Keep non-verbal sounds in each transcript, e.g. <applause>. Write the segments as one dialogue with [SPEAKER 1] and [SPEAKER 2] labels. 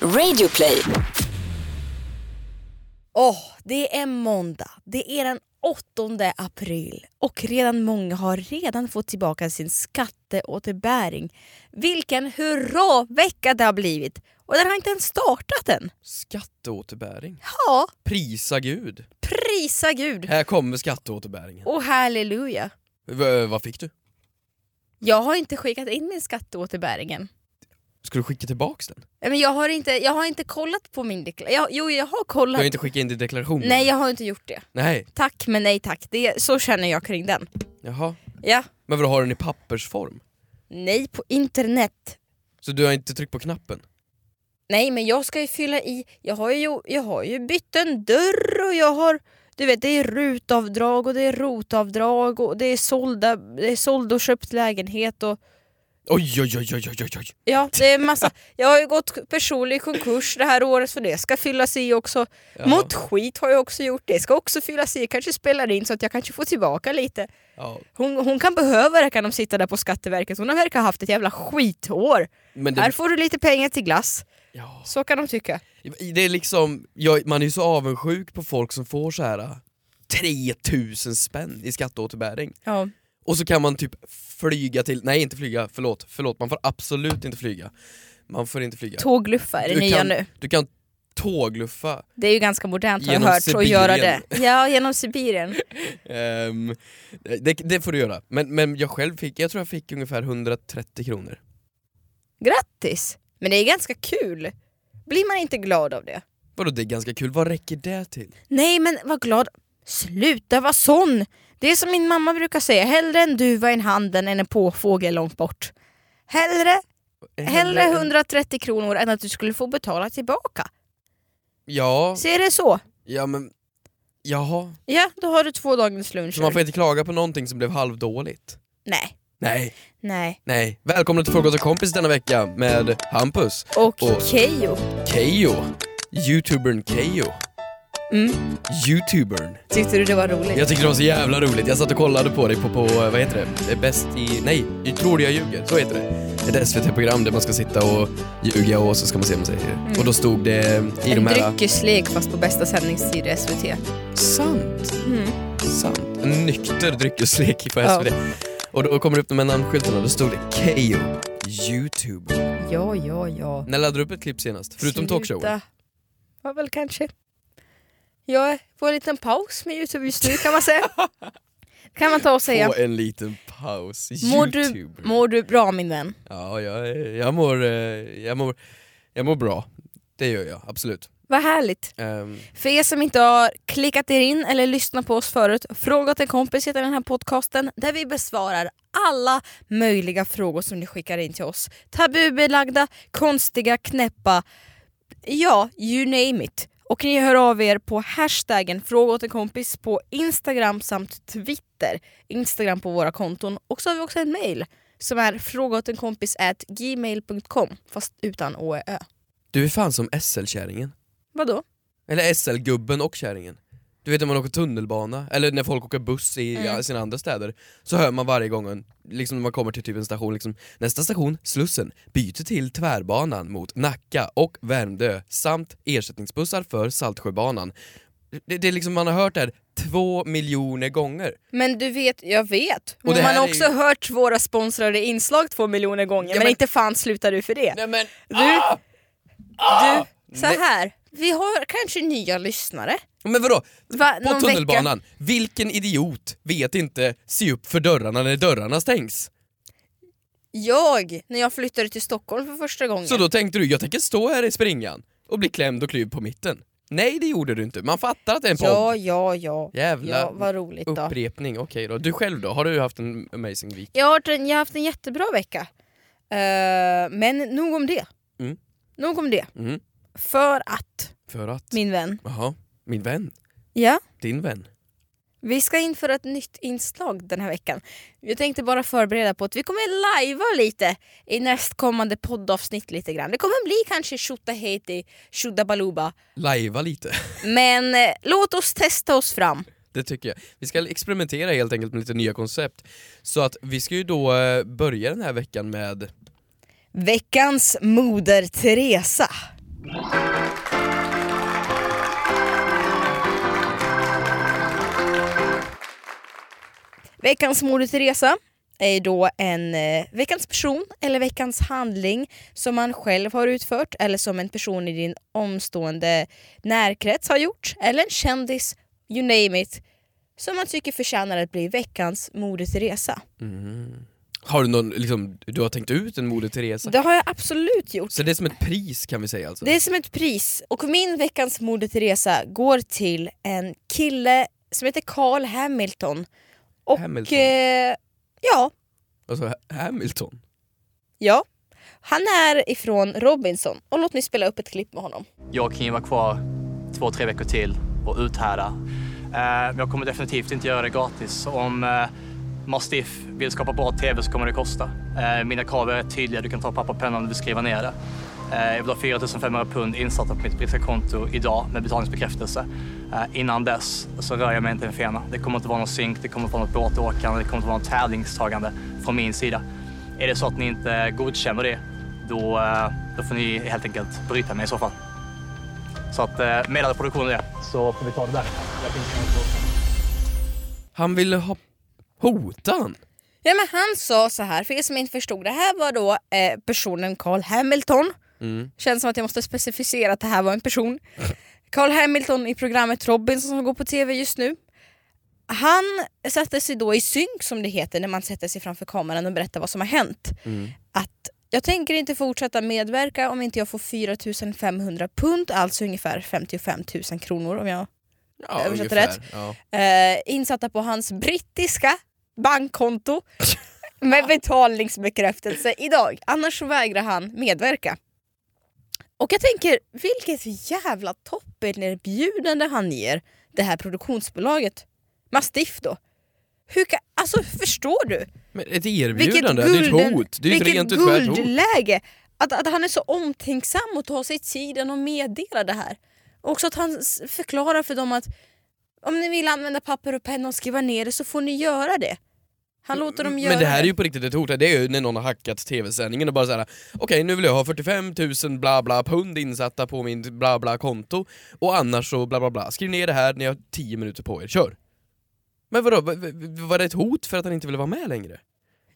[SPEAKER 1] Radioplay.
[SPEAKER 2] Åh, det är måndag. Det är den 8 april och redan många har redan fått tillbaka sin skatteåterbäring. Vilken hurra-vecka det har blivit! Och den har inte ens startat än.
[SPEAKER 3] Skatteåterbäring.
[SPEAKER 2] Ja,
[SPEAKER 3] Prisa gud.
[SPEAKER 2] prisa gud
[SPEAKER 3] Här kommer skatteåterbäringen.
[SPEAKER 2] och halleluja.
[SPEAKER 3] V- vad fick du?
[SPEAKER 2] Jag har inte skickat in min skatteåterbäring än.
[SPEAKER 3] Ska du skicka tillbaks den?
[SPEAKER 2] Nej, Eh, men jag, har inte, jag har inte kollat på min deklaration. Jo, jag har
[SPEAKER 3] Du
[SPEAKER 2] kollat.
[SPEAKER 3] har inte skickat in din deklaration?
[SPEAKER 2] Nej, jag har inte gjort det.
[SPEAKER 3] Nej.
[SPEAKER 2] Tack, men nej tack. Det, så känner jag kring den.
[SPEAKER 3] Jaha.
[SPEAKER 2] Ja.
[SPEAKER 3] Men vadå, har den i pappersform?
[SPEAKER 2] Nej, på internet.
[SPEAKER 3] Så du har inte tryckt på knappen?
[SPEAKER 2] Nej men jag ska ju fylla i, jag har ju, jag har ju bytt en dörr och jag har du vet det är rutavdrag och det är rotavdrag och det är sålda, det är såld och köpt lägenhet och
[SPEAKER 3] Oj, oj, oj, oj, oj, oj.
[SPEAKER 2] ja det är
[SPEAKER 3] <laughs>
[SPEAKER 2] massa. Jag har ju gått personlig konkurs det här året för det ska fyllas i också.
[SPEAKER 3] Jaha.
[SPEAKER 2] Mot skit har jag också gjort, det ska också fyllas i. Kanske spelar in så att jag kanske får tillbaka lite.
[SPEAKER 3] Ja.
[SPEAKER 2] Hon, hon kan behöva det kan de sitta där på Skatteverket, hon verkar ha haft ett jävla skitår.
[SPEAKER 3] Men
[SPEAKER 2] Här
[SPEAKER 3] det,
[SPEAKER 2] får du lite pengar till glass,
[SPEAKER 3] ja.
[SPEAKER 2] så kan de tycka.
[SPEAKER 3] det är liksom, jag, man är ju så avundsjuk på folk som får så här äh, 3000 spänn i skatteåterbäring.
[SPEAKER 2] Ja.
[SPEAKER 3] Och så kan man typ flyga till, nej inte flyga, förlåt, förlåt, man får absolut inte flyga. Man får inte flyga.
[SPEAKER 2] Tågluffa är det
[SPEAKER 3] Du
[SPEAKER 2] nya
[SPEAKER 3] kan-
[SPEAKER 2] nu.
[SPEAKER 3] Du kan tågluffa
[SPEAKER 2] Det är ju ganska modernt har jag
[SPEAKER 3] Genom
[SPEAKER 2] hört, att
[SPEAKER 3] Sibirien.
[SPEAKER 2] göra det. Ja, genom Sibirien.
[SPEAKER 3] Ehm, det, det får du göra. Men, men jag själv fick, jag tror jag fick ungefär 130 kronor.
[SPEAKER 2] Grattis! Men det är ganska kul. Blir man inte glad av det?
[SPEAKER 3] Vadå det är ganska kul, vad räcker det till?
[SPEAKER 2] Nej, men var glad. Sluta vara sån! Det är som min mamma brukar säga, hellre en duva i handen än en påfågel långt bort. Hellre, hellre
[SPEAKER 3] än-
[SPEAKER 2] 130 kronor än att du skulle få betala tillbaka.
[SPEAKER 3] Ja,
[SPEAKER 2] Ser det så?
[SPEAKER 3] ja men... Jaha.
[SPEAKER 2] Ja, då har du två dagars lunch.
[SPEAKER 3] Så man får inte klaga på någonting som blev halvdåligt?
[SPEAKER 2] Nej,
[SPEAKER 3] Nej,
[SPEAKER 2] nej.
[SPEAKER 3] nej. Välkomna till Fråga till kompis denna vecka med Hampus
[SPEAKER 2] Och
[SPEAKER 3] Och-
[SPEAKER 2] Keyyo.
[SPEAKER 3] Keio. Youtubern Keio.
[SPEAKER 2] Mm.
[SPEAKER 3] Youtubern.
[SPEAKER 2] Tyckte du det var roligt?
[SPEAKER 3] Jag tyckte det var så jävla roligt, jag satt och kollade på dig på, på eh, vad heter det, Eh, Bäst i, nej, du tror det jag ljuger, så heter det. Ett SVT-program där man ska sitta och ljuga och så ska man se om man säger det.
[SPEAKER 2] Mm.
[SPEAKER 3] Och då stod det i
[SPEAKER 2] en
[SPEAKER 3] de här...
[SPEAKER 2] dryckeslek fast på bästa sändningstid i SVT.
[SPEAKER 3] Sant,
[SPEAKER 2] Mm.
[SPEAKER 3] sant. En nykter dryckeslek på
[SPEAKER 2] Ja.
[SPEAKER 3] SVT. Och då kommer det upp de här namnskyltarna, då stod det Keyyo, YouTube.
[SPEAKER 2] Ja, ja, ja.
[SPEAKER 3] När laddade du upp ett klipp senast? Förutom talkshowen?
[SPEAKER 2] Sluta. Ja, väl kanske. Jag är på en liten paus med Youtube just nu kan man
[SPEAKER 3] <laughs>
[SPEAKER 2] säga. kan man ta och säga.
[SPEAKER 3] Få en liten paus.
[SPEAKER 2] Mår du,
[SPEAKER 3] YouTube.
[SPEAKER 2] mår du bra min vän?
[SPEAKER 3] Ja, jag, jag, mår, eh, jag, mår, jag mår bra. Det gör jag, absolut.
[SPEAKER 2] Vad härligt.
[SPEAKER 3] Ehm,
[SPEAKER 2] För er som inte har klickat er in eller lyssnat på oss förut, Fråga till kompis heter den här podcasten där vi besvarar alla möjliga frågor som ni skickar in till oss. Tabubelagda, konstiga, knäppa, ja, you name it. Och ni hör av er på hashtaggen fråga åt en kompis på Instagram samt Twitter. Instagram på våra konton. Och så har vi också en mail som är fråga åt en kompis at gmail.com fast utan å och ö.
[SPEAKER 3] Du är fan som SL-kärringen.
[SPEAKER 2] Vadå?
[SPEAKER 3] Eller SL-gubben och kärringen. Du vet när man åker tunnelbana, eller när folk åker buss i
[SPEAKER 2] Mm.
[SPEAKER 3] ja, sina andra städer, så hör man varje gång, en- liksom när man kommer till typ en station, liksom, nästa station, Slussen, byter till tvärbanan mot Nacka och Värmdö samt ersättningsbussar för Saltsjöbanan. Det, det är liksom, man har hört det här två miljoner gånger.
[SPEAKER 2] Men du vet, jag vet.
[SPEAKER 3] Och
[SPEAKER 2] Och
[SPEAKER 3] det
[SPEAKER 2] man
[SPEAKER 3] här
[SPEAKER 2] har
[SPEAKER 3] är
[SPEAKER 2] också
[SPEAKER 3] ju-
[SPEAKER 2] hört våra sponsrade inslag två miljoner gånger,
[SPEAKER 3] Ja,
[SPEAKER 2] men,
[SPEAKER 3] men-
[SPEAKER 2] inte fan slutar du för det.
[SPEAKER 3] Nej men,
[SPEAKER 2] Du, du, så
[SPEAKER 3] Ah! Nej.
[SPEAKER 2] här. Vi har kanske nya lyssnare.
[SPEAKER 3] men vadå?
[SPEAKER 2] Va,
[SPEAKER 3] På
[SPEAKER 2] någon Vecka.
[SPEAKER 3] tunnelbanan, vilken idiot vet inte se upp för dörrarna när dörrarna stängs?
[SPEAKER 2] Jag, när jag flyttade till Stockholm för första gången.
[SPEAKER 3] Så då tänkte du, jag tänker stå här i springan och bli klämd och klyvd på mitten. Nej det gjorde du inte, man fattar att det är en podd.
[SPEAKER 2] ja, ja, ja.
[SPEAKER 3] Jävla
[SPEAKER 2] Ja, vad roligt då.
[SPEAKER 3] upprepning. Okej då. Du själv då, har du haft en amazing week?
[SPEAKER 2] Jag har, haft en, jag har haft en jättebra vecka. Eh, men nog om det.
[SPEAKER 3] Mm.
[SPEAKER 2] Nog om det.
[SPEAKER 3] Mm.
[SPEAKER 2] För att,
[SPEAKER 3] För att?
[SPEAKER 2] min vän,
[SPEAKER 3] Jaha, min vän?
[SPEAKER 2] ja,
[SPEAKER 3] Din vän?
[SPEAKER 2] Vi ska införa ett nytt inslag den här veckan. Jag tänkte bara förbereda på att vi kommer lajva lite i nästkommande poddavsnitt lite grann. Det kommer bli kanske Tjotahejti, Tjodabaluba.
[SPEAKER 3] Lajva lite, <laughs>
[SPEAKER 2] Men eh, låt oss testa oss fram.
[SPEAKER 3] det tycker jag. Vi ska experimentera helt enkelt med lite nya koncept. Så att vi ska ju då eh, börja den här veckan med
[SPEAKER 2] Veckans moder Teresa. Veckans modig Teresa är då en eh, veckans person eller veckans handling som man själv har utfört eller som en person i din omstående närkrets har gjort eller en kändis, you name it, som man tycker förtjänar att bli veckans modig Teresa.
[SPEAKER 3] Har du någon, liksom, du har tänkt ut en Moder Teresa?
[SPEAKER 2] Det har jag absolut gjort.
[SPEAKER 3] Så det är som ett pris kan vi säga alltså?
[SPEAKER 2] Det är som ett pris. Och min veckans Moder Teresa går till en kille som heter Carl Hamilton. Och
[SPEAKER 3] Hamilton.
[SPEAKER 2] Eh, ja,
[SPEAKER 3] Alltså Ha- Hamilton?
[SPEAKER 2] ja. Han är ifrån Robinson. Och låt mig spela upp ett klipp med honom.
[SPEAKER 1] Jag kan ju vara kvar två, tre veckor till och uthärda. Eh, Men jag kommer definitivt inte göra det gratis. Om eh, Mastiff vill skapa bra TV så kommer det kosta. Eh, Mina krav är tydliga. Du kan ta papper och penna om du vill skriva ner det. Eh, Jag vill ha 4 500 pund insatta på mitt brittiska konto idag med betalningsbekräftelse. Eh, Innan dess så rör jag mig inte en fena. Det kommer inte vara någon synk, det kommer inte vara något båtåkande, det kommer inte vara något tävlingstagande från min sida. Är det så att ni inte godkänner det, då, eh, då får ni helt enkelt bryta mig i så fall. Så att eh, meddela produktionen det. Så får vi ta det där.
[SPEAKER 3] Han ville ha... Hota han?
[SPEAKER 2] Ja, men han sa så här, för er som inte förstod, det här var då eh, personen Carl Hamilton. Känns som att jag måste specificera att det här var en person. Carl Hamilton i programmet Robinson som går på tv just nu. Han satte sig då i synk som det heter när man sätter sig framför kameran och berättar vad som har hänt. Att jag tänker inte fortsätta medverka om inte jag får 4500 pund, alltså ungefär 55 000 kronor om jag
[SPEAKER 3] Ja,
[SPEAKER 2] Översatt
[SPEAKER 3] ungefär.
[SPEAKER 2] rätt.
[SPEAKER 3] Ja.
[SPEAKER 2] eh, insatta på hans brittiska bankkonto med betalningsbekräftelse idag. Annars så vägrar han medverka. Och jag tänker, vilket jävla toppenerbjudande han ger det här produktionsbolaget. Mastiff då. Hur kan, alltså förstår du?
[SPEAKER 3] Men ett erbjudande, det är ett hot. Det är ju ett
[SPEAKER 2] vilket
[SPEAKER 3] rent ut skärt hot.
[SPEAKER 2] guldläge! Att, att han är så omtänksam och tar sig tiden och meddelar det här. Och också att han s- förklarar för dem att om ni vill använda papper och penna och skriva ner det så får ni göra det. Han låter dem göra
[SPEAKER 3] Men det här är ju på riktigt ett hot, det är ju när någon har hackat tv-sändningen och bara såhär Okej nu vill jag ha 45 000 bla bla pund insatta på min bla bla konto och annars så bla bla bla, skriv ner det här, ni har 10 minuter på er, kör! Men vadå, v- v- var det ett hot för att han inte ville vara med längre?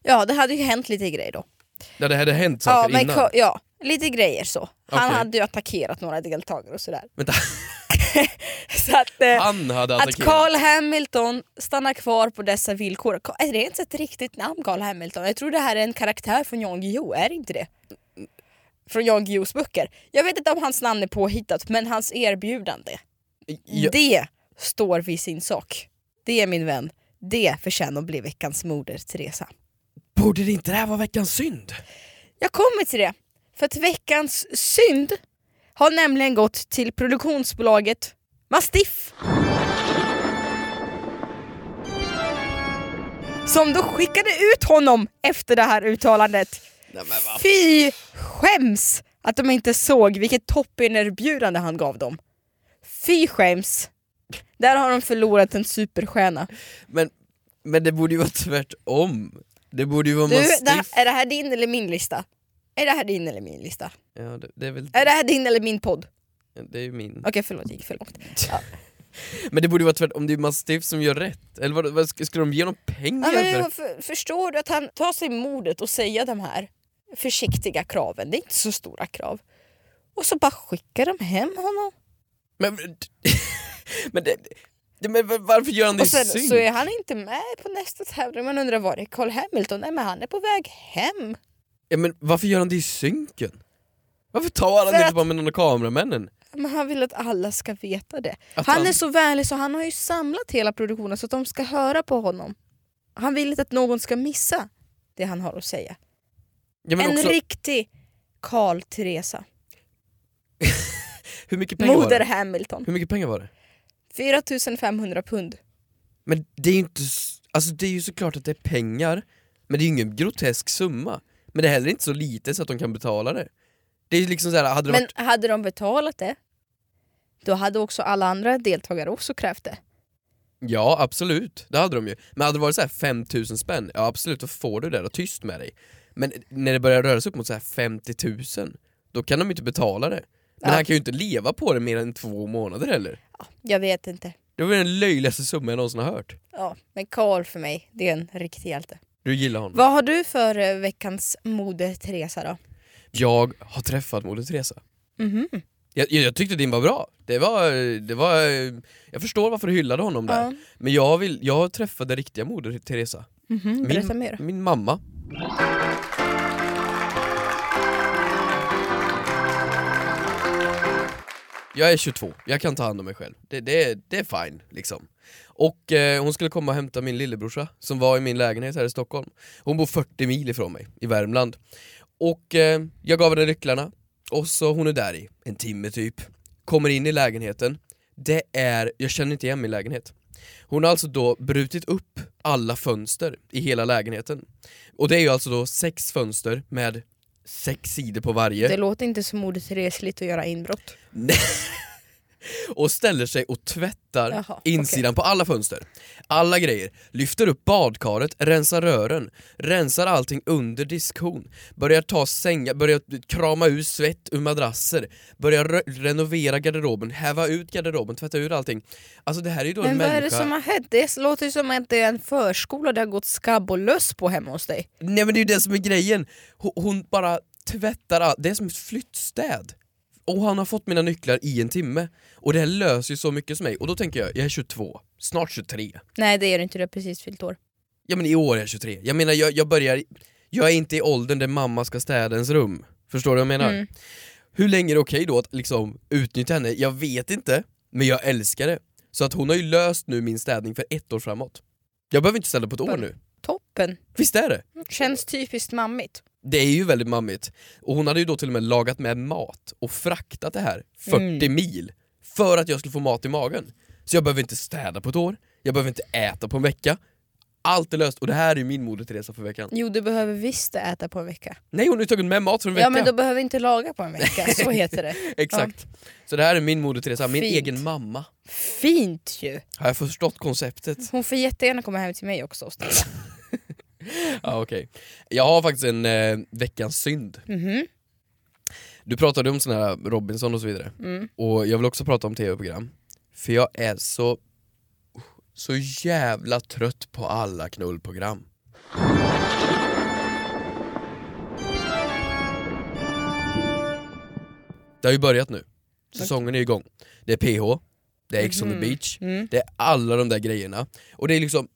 [SPEAKER 2] Ja, det hade ju hänt lite grejer då.
[SPEAKER 3] Ja det hade hänt
[SPEAKER 2] Ja,
[SPEAKER 3] saker
[SPEAKER 2] men,
[SPEAKER 3] innan.
[SPEAKER 2] ko- ja, lite grejer så. Han
[SPEAKER 3] Okej.
[SPEAKER 2] hade ju attackerat några deltagare och sådär. <laughs>
[SPEAKER 3] Vänta, <laughs>
[SPEAKER 2] Så att, eh,
[SPEAKER 3] han hade
[SPEAKER 2] att
[SPEAKER 3] attackerat.
[SPEAKER 2] Carl Hamilton stannar kvar på dessa villkor. Ka- Är det ens ett riktigt namn Carl Hamilton? Jag tror det här är en karaktär från Jan Guillou, är det inte det? Från Jan Guillous böcker. Jag vet inte om hans namn är påhittat, men hans erbjudande.
[SPEAKER 3] Ja,
[SPEAKER 2] Det står vid sin sak. Det min vän, det förtjänar att bli veckans moder, Teresa.
[SPEAKER 3] Borde det inte det här vara veckans synd?
[SPEAKER 2] Jag kommer till det, för att veckans synd har nämligen gått till produktionsbolaget Mastiff. Som då skickade ut honom efter det här uttalandet. Fy skäms att de inte såg vilket toppenerbjudande han gav dem. Fy skäms. Där har de förlorat en superstjärna.
[SPEAKER 3] Men, men det borde ju vara tvärtom. Det borde ju vara
[SPEAKER 2] Du,
[SPEAKER 3] mastiff.
[SPEAKER 2] det, är det här din eller min lista? Är det här din eller min lista?
[SPEAKER 3] Ja, det, det är väl
[SPEAKER 2] Är det här din eller min podd?
[SPEAKER 3] det är ju min.
[SPEAKER 2] Okej förlåt, jag gick för långt.
[SPEAKER 3] Men det borde ju vara tvärtom, det är Mastiff som gör rätt. Eller vad, vad, ska, ska de ge honom
[SPEAKER 2] Ja,
[SPEAKER 3] pengar
[SPEAKER 2] men,
[SPEAKER 3] för?
[SPEAKER 2] för, förstår du att han tar sig modet och säga de här försiktiga kraven, det är inte så stora krav. Och så bara skickar de hem honom.
[SPEAKER 3] Men, <laughs> men, det, det, men var- varför gör han det
[SPEAKER 2] Och
[SPEAKER 3] i
[SPEAKER 2] sen
[SPEAKER 3] synk?
[SPEAKER 2] så är han inte med på nästa tävling. Man undrar var är Carl Hamilton? Nej men han är på väg hem.
[SPEAKER 3] ja, men varför gör han det i synken? Varför tar han
[SPEAKER 2] För
[SPEAKER 3] det inte
[SPEAKER 2] att-
[SPEAKER 3] bara med någon av kameramännen?
[SPEAKER 2] Men han vill att alla ska veta det.
[SPEAKER 3] Att
[SPEAKER 2] han,
[SPEAKER 3] han-
[SPEAKER 2] är så vänlig så han har ju samlat hela produktionen så att de ska höra på honom. Han vill inte att någon ska missa det han har att säga.
[SPEAKER 3] Ja, men
[SPEAKER 2] en
[SPEAKER 3] också,
[SPEAKER 2] riktig Carl Teresa.
[SPEAKER 3] hur, mycket pengar var
[SPEAKER 2] Moder
[SPEAKER 3] det?
[SPEAKER 2] Hamilton.
[SPEAKER 3] hur mycket pengar var det?
[SPEAKER 2] 4500 pund.
[SPEAKER 3] Men det är ju inte, s- alltså det är ju såklart att det är pengar, men det är ju ingen grotesk summa. Men det är heller inte så lite så att de kan betala det. Det är ju liksom såhär, hade det
[SPEAKER 2] Men
[SPEAKER 3] varit...
[SPEAKER 2] hade de betalat det, då hade också alla andra deltagare också krävt det.
[SPEAKER 3] Ja absolut, det hade de ju. Men hade det varit såhär 5000 spänn, ja absolut då får du det då, tyst med dig. Men när det börjar röra sig upp mot såhär 50 000, då kan de ju inte betala det. Men
[SPEAKER 2] Ja.
[SPEAKER 3] han kan ju inte leva på det mer än två månader heller.
[SPEAKER 2] Jag vet inte.
[SPEAKER 3] Det var den löjligaste summa jag någonsin har hört.
[SPEAKER 2] Ja, men Karl för mig, det är en riktig hjälte.
[SPEAKER 3] Du gillar honom.
[SPEAKER 2] Vad har du för eh, veckans Moder Teresa då?
[SPEAKER 3] Jag har träffat Moder Teresa. Jag, jag, jag tyckte din var bra. Det var, det var, jag förstår varför du hyllade honom där.
[SPEAKER 2] Ja.
[SPEAKER 3] Men jag, vill, jag träffade riktiga Moder Teresa. Mm.
[SPEAKER 2] Mhm, berätta mer.
[SPEAKER 3] min mamma. Jag är 22, jag kan ta hand om mig själv. Det, det, det är fine liksom. Och eh, hon skulle komma och hämta min lillebrorsa som var i min lägenhet här i Stockholm. Hon bor 40 mil ifrån mig, i Värmland. Och eh, jag gav henne nycklarna, och så hon är där i en timme typ. Kommer in i lägenheten, det är, jag känner inte igen min lägenhet. Hon har alltså då brutit upp alla fönster i hela lägenheten. Och det är ju alltså då sex fönster med sex sidor på varje.
[SPEAKER 2] Det låter inte som Moder Teresligt att göra inbrott.
[SPEAKER 3] och ställer sig och tvättar
[SPEAKER 2] Jaha, okej.
[SPEAKER 3] insidan på alla fönster. Alla grejer. Lyfter upp badkaret, rensar rören, rensar allting under diskhon, börjar ta sängar, börjar krama ur svett ur madrasser, börjar re- renovera garderoben, häva ut garderoben, tvätta ur allting. Alltså det här är ju då en
[SPEAKER 2] Men vad
[SPEAKER 3] människa...
[SPEAKER 2] är det som har hänt? Det låter ju som att det är en förskola det har gått skabb och löss på hemma hos dig.
[SPEAKER 3] Nej men det är ju det som är grejen, hon, hon bara tvättar allt, det är som ett flyttstäd. Och han har fått mina nycklar i en timme. Och det här löser ju så mycket för mig. Och då tänker jag, jag är 22, snart 23.
[SPEAKER 2] Nej det är det inte, du har precis fyllt år.
[SPEAKER 3] Ja men i år är jag 23. Jag menar jag, jag börjar, jag är inte i åldern där mamma ska städa ens rum. Förstår du vad jag menar?
[SPEAKER 2] Mm.
[SPEAKER 3] Hur länge är det okej då att liksom utnyttja henne? Jag vet inte, men jag älskar det. Så att hon har ju löst nu min städning för ett år framåt. Jag behöver inte städa på ett år
[SPEAKER 2] Bra.
[SPEAKER 3] nu.
[SPEAKER 2] Toppen!
[SPEAKER 3] Visst är det?
[SPEAKER 2] Känns typiskt mammigt.
[SPEAKER 3] Det är ju väldigt mammigt. Och hon hade ju då till och med lagat med mat och fraktat det här 40
[SPEAKER 2] Mm.
[SPEAKER 3] mil för att jag skulle få mat i magen. Så jag behöver inte städa på ett år, jag behöver inte äta på en vecka. Allt är löst och det här är ju min Moder Teresa för veckan.
[SPEAKER 2] Jo du behöver visst äta på en vecka.
[SPEAKER 3] Nej hon har ju tagit med mat från en vecka!
[SPEAKER 2] Ja men då behöver vi inte laga på en vecka, så heter det.
[SPEAKER 3] Exakt. Så det här är min Moder Teresa, min
[SPEAKER 2] Fint.
[SPEAKER 3] egen mamma.
[SPEAKER 2] Fint ju!
[SPEAKER 3] Har jag förstått konceptet?
[SPEAKER 2] Hon får jättegärna komma hem till mig också och ställa.
[SPEAKER 3] <laughs> Ja okej. Jag har faktiskt en eh, veckans synd.
[SPEAKER 2] Mhm.
[SPEAKER 3] Du pratade om sån här Robinson och så vidare.
[SPEAKER 2] Mm.
[SPEAKER 3] Och jag vill också prata om tv-program. För jag är så, så jävla trött på alla knullprogram. Det har ju börjat nu. Säsongen är igång. Det är PH, det är Ex on the
[SPEAKER 2] Mhm.
[SPEAKER 3] beach,
[SPEAKER 2] Mm.
[SPEAKER 3] det är alla de där grejerna. Och det är liksom,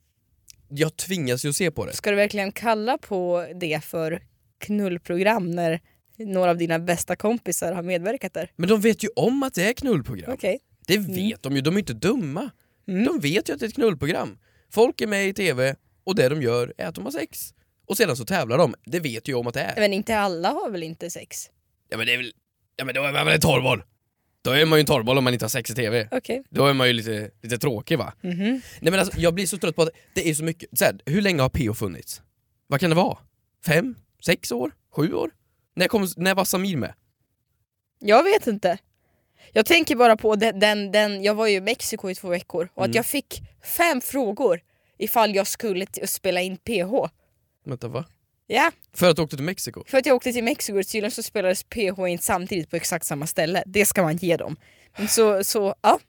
[SPEAKER 3] jag tvingas ju att se på det.
[SPEAKER 2] Ska du verkligen kalla på det för knullprogram när några av dina bästa kompisar har medverkat där?
[SPEAKER 3] Men de vet ju om att det är knullprogram.
[SPEAKER 2] Okej.
[SPEAKER 3] Det vet de ju, de är inte dumma.
[SPEAKER 2] Mm.
[SPEAKER 3] De vet ju att det är ett knullprogram. Folk är med i TV och det de gör är att de har sex. Och sedan så tävlar de, det vet ju om att det är.
[SPEAKER 2] Men inte alla har väl inte sex?
[SPEAKER 3] Ja men det är väl, ja men då är man väl en torrboll? Då är man ju en torrboll om man inte har sex i TV.
[SPEAKER 2] Okej.
[SPEAKER 3] Då är man ju lite, lite tråkig va?
[SPEAKER 2] Mhm.
[SPEAKER 3] Nej men alltså jag blir så trött på att det är så mycket, så här, hur länge har PO funnits? Vad kan det vara? Fem? Sex år? Sju år? När, kom, när var Samir med?
[SPEAKER 2] Jag vet inte. Jag tänker bara på den, den, den jag var ju i Mexiko i två veckor och att jag fick fem frågor ifall jag skulle t- spela in PH.
[SPEAKER 3] Vänta va?
[SPEAKER 2] Ja,
[SPEAKER 3] För att du åkte till Mexiko?
[SPEAKER 2] för att jag åkte till Mexiko och tydligen så spelades PH in samtidigt på exakt samma ställe. Det ska man ge dem. Men Så, så ja.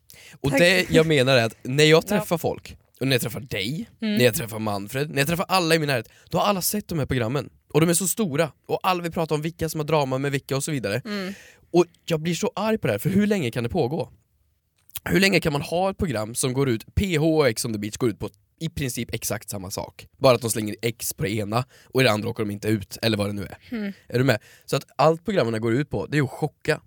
[SPEAKER 3] Och
[SPEAKER 2] Tack.
[SPEAKER 3] det jag menar är att när jag träffar folk, och när jag träffar dig, när jag träffar Manfred, när jag träffar alla i min närhet, då har alla sett de här programmen. Och de är så stora, och alla vill prata om vilka som har drama med vilka och så vidare. Och jag blir så arg på det här, för hur länge kan det pågå? Hur länge kan man ha ett program som går ut, PH och Ex on the beach går ut på i princip exakt samma sak. Bara att de slänger X på det ena och i det andra åker de inte ut, eller vad det nu är. Är du med? Så att allt programmen går ut på, det är att chocka.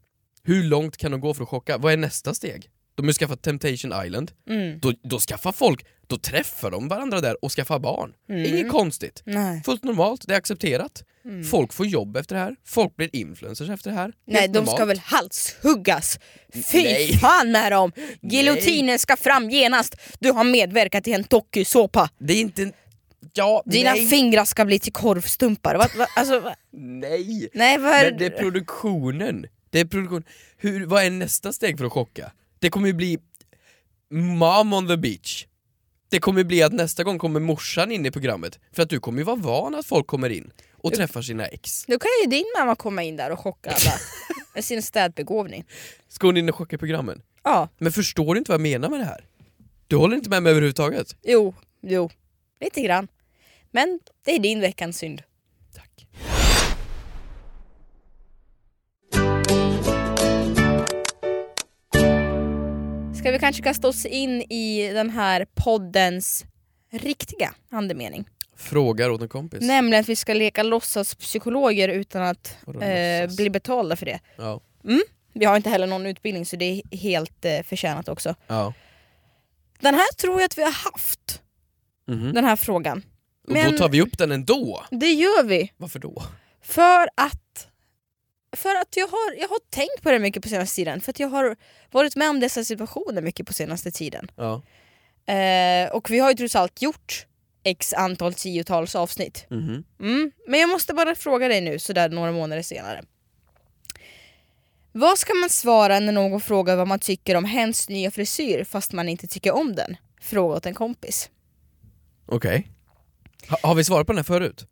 [SPEAKER 3] Hur långt kan de gå för att chocka? Vad är nästa steg? De har ju skaffat Temptation Island,
[SPEAKER 2] Mm.
[SPEAKER 3] då, då skaffar folk, då träffar de varandra där och skaffar barn. Inget konstigt.
[SPEAKER 2] Nej.
[SPEAKER 3] Fullt normalt, det är accepterat. Folk får jobb efter det här, folk blir influencers efter det här.
[SPEAKER 2] Mm. Nej,
[SPEAKER 3] Helt
[SPEAKER 2] de ska
[SPEAKER 3] normalt.
[SPEAKER 2] väl halshuggas! Fy
[SPEAKER 3] Nej.
[SPEAKER 2] fan med dem! Giljotinen ska fram genast! Du har medverkat i en dokusåpa!
[SPEAKER 3] Det är inte en... Ja,
[SPEAKER 2] Dina
[SPEAKER 3] nej,
[SPEAKER 2] fingrar ska bli till korvstumpar. Va, va, alltså, va?
[SPEAKER 3] nej.
[SPEAKER 2] Nej, vad är
[SPEAKER 3] Men det är produktionen. Det är produktion. Hur, vad är nästa steg för att chocka? Det kommer ju bli mom on the beach. Det kommer ju bli att nästa gång kommer morsan in i programmet. För att du kommer ju vara van att folk kommer in och träffar sina ex.
[SPEAKER 2] Då kan ju din mamma komma in där och chocka
[SPEAKER 3] <laughs>
[SPEAKER 2] alla med sin städbegåvning.
[SPEAKER 3] Ska hon in och chocka i programmen?
[SPEAKER 2] Ja,
[SPEAKER 3] Men förstår du inte vad jag menar med det här? Du håller inte med mig överhuvudtaget?
[SPEAKER 2] Jo, jo. Lite grann. Men det är din veckans synd.
[SPEAKER 3] Tack.
[SPEAKER 2] Ska vi kanske kasta oss in i den här poddens riktiga andemening?
[SPEAKER 3] Frågar åt en kompis.
[SPEAKER 2] Nämligen att vi ska leka låtsas psykologer utan att
[SPEAKER 3] Vadå,
[SPEAKER 2] eh,
[SPEAKER 3] låtsas?
[SPEAKER 2] bli betalda för det.
[SPEAKER 3] Ja.
[SPEAKER 2] Vi har inte heller någon utbildning så det är helt eh, förtjänat också.
[SPEAKER 3] ja.
[SPEAKER 2] Den här tror jag att vi har haft,
[SPEAKER 3] Mhm.
[SPEAKER 2] den här frågan.
[SPEAKER 3] Och
[SPEAKER 2] Men-
[SPEAKER 3] då tar vi upp den ändå.
[SPEAKER 2] Det gör vi
[SPEAKER 3] Varför då?
[SPEAKER 2] för att för att jag har, jag har tänkt på det mycket på senaste tiden, för att jag har varit med om dessa situationer mycket på senaste tiden.
[SPEAKER 3] Ja.
[SPEAKER 2] Eh, och vi har ju trots allt gjort x antal tiotals avsnitt.
[SPEAKER 3] Mhm.
[SPEAKER 2] Mm. Men jag måste bara fråga dig nu sådär några månader senare. Vad ska man svara när någon frågar vad man tycker om hens nya frisyr fast man inte tycker om den? Fråga åt en kompis.
[SPEAKER 3] Okej. Ha, har vi svarat på den här förut?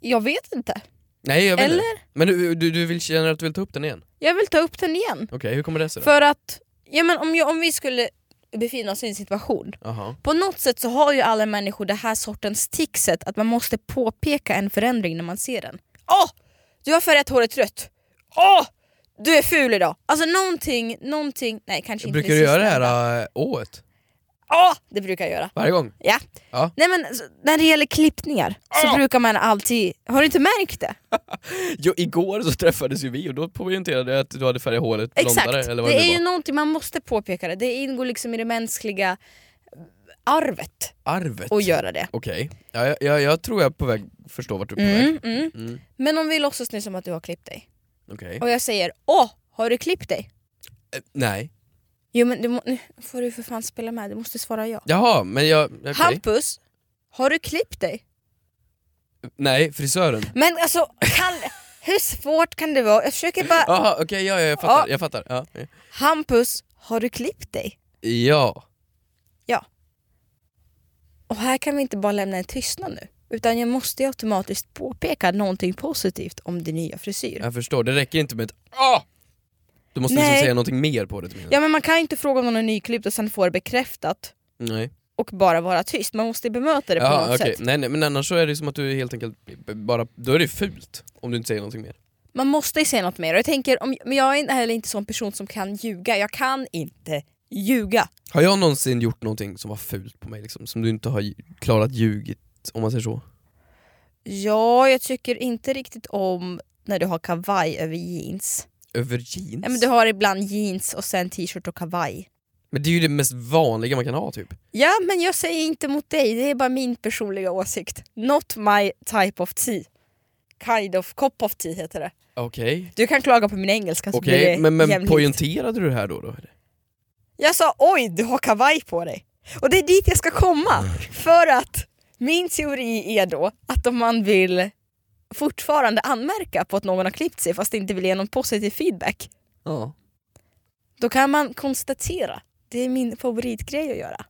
[SPEAKER 2] Jag vet inte.
[SPEAKER 3] Nej jag vet
[SPEAKER 2] Eller?
[SPEAKER 3] inte. Men du, du, du vill, känner att du vill ta upp den igen?
[SPEAKER 2] Jag vill ta upp den igen.
[SPEAKER 3] Okej, hur kommer det sig då?
[SPEAKER 2] För att ja, men om, jag, om vi skulle befinna oss i en situation
[SPEAKER 3] Aha.
[SPEAKER 2] På något sätt så har ju alla människor det här sortens tixet att man måste påpeka en förändring när man ser den. Åh! Du har färgat håret rött. Åh! Du är ful idag. Alltså någonting, någonting, nej kanske inte
[SPEAKER 3] Brukar du göra det
[SPEAKER 2] sistnämnda.
[SPEAKER 3] här äh, ået?
[SPEAKER 2] Åh! Det brukar jag göra.
[SPEAKER 3] Varje gång?
[SPEAKER 2] Ja.
[SPEAKER 3] Ja.
[SPEAKER 2] Nej men så- när det gäller klippningar så
[SPEAKER 3] Åh!
[SPEAKER 2] brukar man alltid, har du inte märkt det?
[SPEAKER 3] Jo, igår så träffades ju vi och då poängterade jag att du hade färgat håret
[SPEAKER 2] Exakt.
[SPEAKER 3] blondare eller vad
[SPEAKER 2] det
[SPEAKER 3] det,
[SPEAKER 2] är
[SPEAKER 3] nu
[SPEAKER 2] ju
[SPEAKER 3] var.
[SPEAKER 2] någonting man måste påpeka det. Det ingår liksom i det mänskliga eh, arvet
[SPEAKER 3] Arvet.
[SPEAKER 2] att göra det.
[SPEAKER 3] Okej, ja, jag, jag, jag tror jag är på väg förstå vart du är på väg.
[SPEAKER 2] Mm, mm.
[SPEAKER 3] Mm.
[SPEAKER 2] Men om vi låtsas nu som att du har klippt dig.
[SPEAKER 3] Okej.
[SPEAKER 2] Och jag säger åh, har du klippt dig?
[SPEAKER 3] Eh, Nej.
[SPEAKER 2] Jo men du må- nu får du för fan spela med, du måste svara ja.
[SPEAKER 3] Jaha, men jag... okej.
[SPEAKER 2] Hampus, har du klippt dig?
[SPEAKER 3] Nej, frisören.
[SPEAKER 2] Men alltså, kan, hur svårt kan det vara? Jag försöker bara...
[SPEAKER 3] Jaha, okej, ja, ja, jag fattar.
[SPEAKER 2] Ja.
[SPEAKER 3] Jag fattar. Ja.
[SPEAKER 2] Hampus, har du klippt dig?
[SPEAKER 3] ja.
[SPEAKER 2] Och här kan vi inte bara lämna en tystnad nu. Utan jag måste ju automatiskt påpeka någonting positivt om din nya frisyr.
[SPEAKER 3] jag förstår. Det räcker inte med ett ah! Du måste
[SPEAKER 2] Nej.
[SPEAKER 3] liksom säga någonting mer på det till
[SPEAKER 2] Ja men man kan ju inte fråga om någon är nyklippt och sen få det bekräftat
[SPEAKER 3] Nej.
[SPEAKER 2] och bara vara tyst. Man måste ju bemöta det på
[SPEAKER 3] Ja,
[SPEAKER 2] något
[SPEAKER 3] okej.
[SPEAKER 2] sätt.
[SPEAKER 3] Nej, nej, men annars så är det som att du helt enkelt b- b- bara... Då är det fult om du inte säger någonting mer.
[SPEAKER 2] Man måste ju säga något mer. Och jag tänker, om, men jag är heller inte sån person som kan ljuga. Jag kan inte ljuga.
[SPEAKER 3] Har jag någonsin gjort någonting som var fult på mig liksom? Som du inte har ju- klarat ljugit, om man säger så?
[SPEAKER 2] Ja, jag tycker inte riktigt om när du har kavaj över jeans.
[SPEAKER 3] Över jeans?
[SPEAKER 2] Nej, men du har ibland jeans och sen t-shirt och kavaj.
[SPEAKER 3] Men det är ju det mest vanliga man kan ha typ.
[SPEAKER 2] Ja, men jag säger inte mot dig. Det är bara min personliga åsikt. Not my type of tea. Kind of cup of tea heter det.
[SPEAKER 3] Okej.
[SPEAKER 2] Du kan klaga på min engelska så
[SPEAKER 3] Okej,
[SPEAKER 2] blir Alltså, det
[SPEAKER 3] men, men
[SPEAKER 2] jämlikt.
[SPEAKER 3] poängterade du det här då? då? eller?
[SPEAKER 2] Jag sa oj, du har kavaj på dig. Och det är dit jag ska komma. För att min teori är då att om man vill fortfarande anmärka på att någon har klippt sig fast inte vill ge någon positiv feedback
[SPEAKER 3] Ja.
[SPEAKER 2] Då kan man konstatera. Det är min favoritgrej att göra.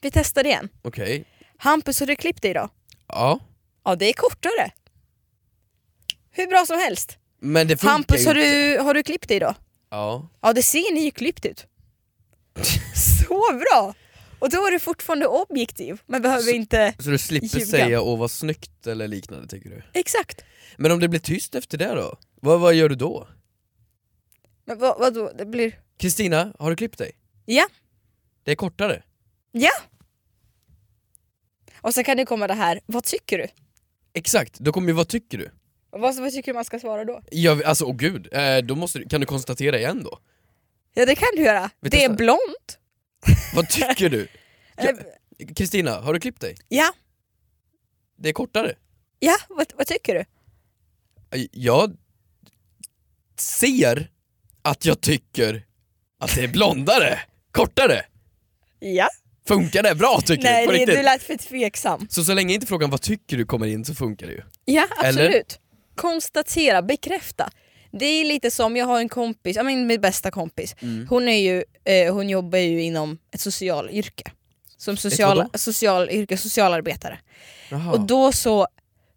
[SPEAKER 2] Vi testar igen.
[SPEAKER 3] Okej.
[SPEAKER 2] Hampus, har du klippt dig idag?
[SPEAKER 3] Ja.
[SPEAKER 2] Ja, det är kortare. Hur bra som helst.
[SPEAKER 3] Men det funkar
[SPEAKER 2] Hampus,
[SPEAKER 3] ju
[SPEAKER 2] har
[SPEAKER 3] inte.
[SPEAKER 2] du, har du klippt dig idag?
[SPEAKER 3] Ja.
[SPEAKER 2] Ja, det ser nyklippt ut. <laughs> Så bra! Och då är du fortfarande objektiv. Man behöver
[SPEAKER 3] Så-
[SPEAKER 2] inte...
[SPEAKER 3] Så du slipper
[SPEAKER 2] Ljuga.
[SPEAKER 3] säga åh vad snyggt eller liknande tycker du?
[SPEAKER 2] Exakt.
[SPEAKER 3] Men om det blir tyst efter det då? Vad, vad gör du då?
[SPEAKER 2] Men vad, vadå, det blir...
[SPEAKER 3] Kristina, har du klippt dig?
[SPEAKER 2] Ja.
[SPEAKER 3] Det är kortare.
[SPEAKER 2] Ja! Och sen kan det komma det här, vad tycker du?
[SPEAKER 3] Exakt, då kommer ju vad tycker du?
[SPEAKER 2] Och Vad, vad tycker du man ska svara då?
[SPEAKER 3] Jag, alltså åh gud, eh, då måste du, kan du konstatera igen då?
[SPEAKER 2] Ja, det kan du göra.
[SPEAKER 3] Vi
[SPEAKER 2] Det är
[SPEAKER 3] testar.
[SPEAKER 2] blont.
[SPEAKER 3] Vad tycker du? Ja.
[SPEAKER 2] Eh,
[SPEAKER 3] Kristina, har du klippt dig?
[SPEAKER 2] Ja,
[SPEAKER 3] Det är kortare. Eh,
[SPEAKER 2] ja vad, vad tycker du?
[SPEAKER 3] Jag ser att jag tycker att det är blondare, kortare.
[SPEAKER 2] Ja.
[SPEAKER 3] Funkar det bra tycker
[SPEAKER 2] Nej,
[SPEAKER 3] du? På
[SPEAKER 2] det,
[SPEAKER 3] riktigt?
[SPEAKER 2] du lät för tveksam.
[SPEAKER 3] Så så länge inte frågan vad tycker du kommer in så funkar det ju.
[SPEAKER 2] Ja,
[SPEAKER 3] Eller?
[SPEAKER 2] absolut. Konstatera, bekräfta. Det är lite som, jag har en kompis, ja, men min bästa kompis,
[SPEAKER 3] Mm.
[SPEAKER 2] hon, är ju, eh, hon jobbar ju inom ett social yrke. Som social,
[SPEAKER 3] vadå?
[SPEAKER 2] social yrke, socialarbetare.
[SPEAKER 3] Jaha.
[SPEAKER 2] Och då så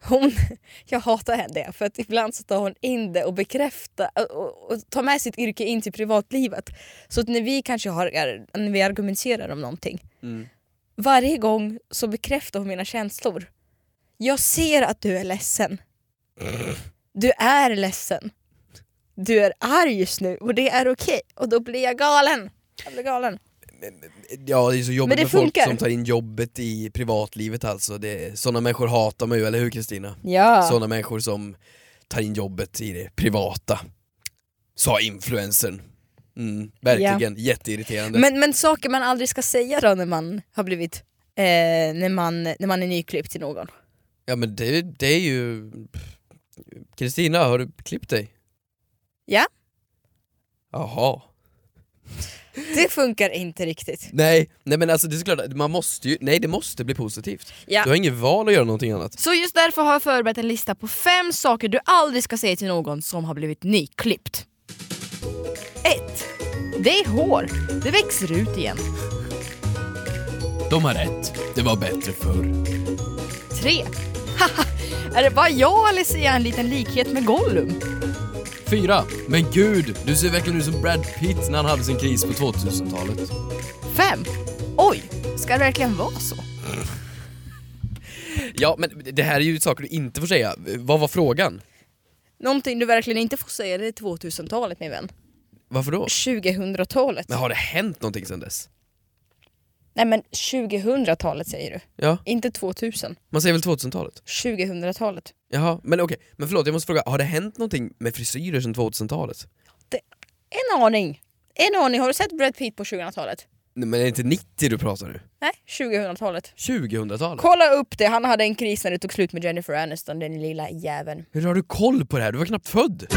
[SPEAKER 2] Hon, <laughs> jag hatar henne för att ibland så tar hon in det och bekräftar och, och, och tar med sitt yrke in till privatlivet. Så att när vi kanske har, när vi argumenterar om någonting,
[SPEAKER 3] Mm.
[SPEAKER 2] varje gång så bekräftar hon mina känslor. Jag ser att du är ledsen. Du är ledsen. Du är arg just nu och det är okej. Och då blir jag galen. Jag blir galen.
[SPEAKER 3] Ja det är så
[SPEAKER 2] Men
[SPEAKER 3] jobbigt
[SPEAKER 2] det
[SPEAKER 3] med folk
[SPEAKER 2] funkar.
[SPEAKER 3] som tar in jobbet i privatlivet alltså, det, sådana människor hatar man ju, eller hur Kristina?
[SPEAKER 2] Ja.
[SPEAKER 3] Sådana människor som tar in jobbet i det privata. Sa influencern. Mm, verkligen, jätteirriterande.
[SPEAKER 2] Men, men saker man aldrig ska säga då när man har blivit eh, när, man, när man är nyklippt till någon.
[SPEAKER 3] Ja men det, det är ju... Kristina, har du klippt dig?
[SPEAKER 2] Ja.
[SPEAKER 3] Jaha.
[SPEAKER 2] Det funkar inte riktigt.
[SPEAKER 3] Nej, nej men alltså det är såklart, man måste ju, nej det måste bli positivt.
[SPEAKER 2] Ja.
[SPEAKER 3] Du har inget val att göra någonting annat.
[SPEAKER 2] Så just därför har jag förberett en lista på fem saker du aldrig ska säga till någon som har blivit nyklippt. 1. Det är hår. Det växer ut igen.
[SPEAKER 3] De har rätt, det var bättre förr.
[SPEAKER 2] 3. Haha, <laughs> är det bara jag eller ser jag en liten likhet med Gollum?
[SPEAKER 3] Fyra, men gud, du ser verkligen ut som Brad Pitt när han hade sin kris på 2000-talet.
[SPEAKER 2] 5. Oj, ska det verkligen vara så?
[SPEAKER 3] Ja men det här är ju saker du inte får säga, vad var frågan?
[SPEAKER 2] Någonting du verkligen inte får säga det är 2000-talet min vän.
[SPEAKER 3] Varför då?
[SPEAKER 2] 2000-talet.
[SPEAKER 3] Men har det hänt någonting sedan dess?
[SPEAKER 2] Nej men 2000-talet säger du,
[SPEAKER 3] Ja,
[SPEAKER 2] inte 2000.
[SPEAKER 3] man säger väl 2000-talet?
[SPEAKER 2] 2000-talet.
[SPEAKER 3] Jaha, men okej, men förlåt jag måste fråga, har det hänt någonting med frisyrer sedan 2000-talet?
[SPEAKER 2] En aning. En aning, har du sett Brad Pitt på 2000-talet?
[SPEAKER 3] Nej, men är det inte 90 du pratar nu?
[SPEAKER 2] Nej, 2000-talet.
[SPEAKER 3] 2000-talet?
[SPEAKER 2] Kolla upp det, han hade en kris när det tog slut med Jennifer Aniston, den lilla jäveln.
[SPEAKER 3] Hur har du koll på det här? Du var knappt född!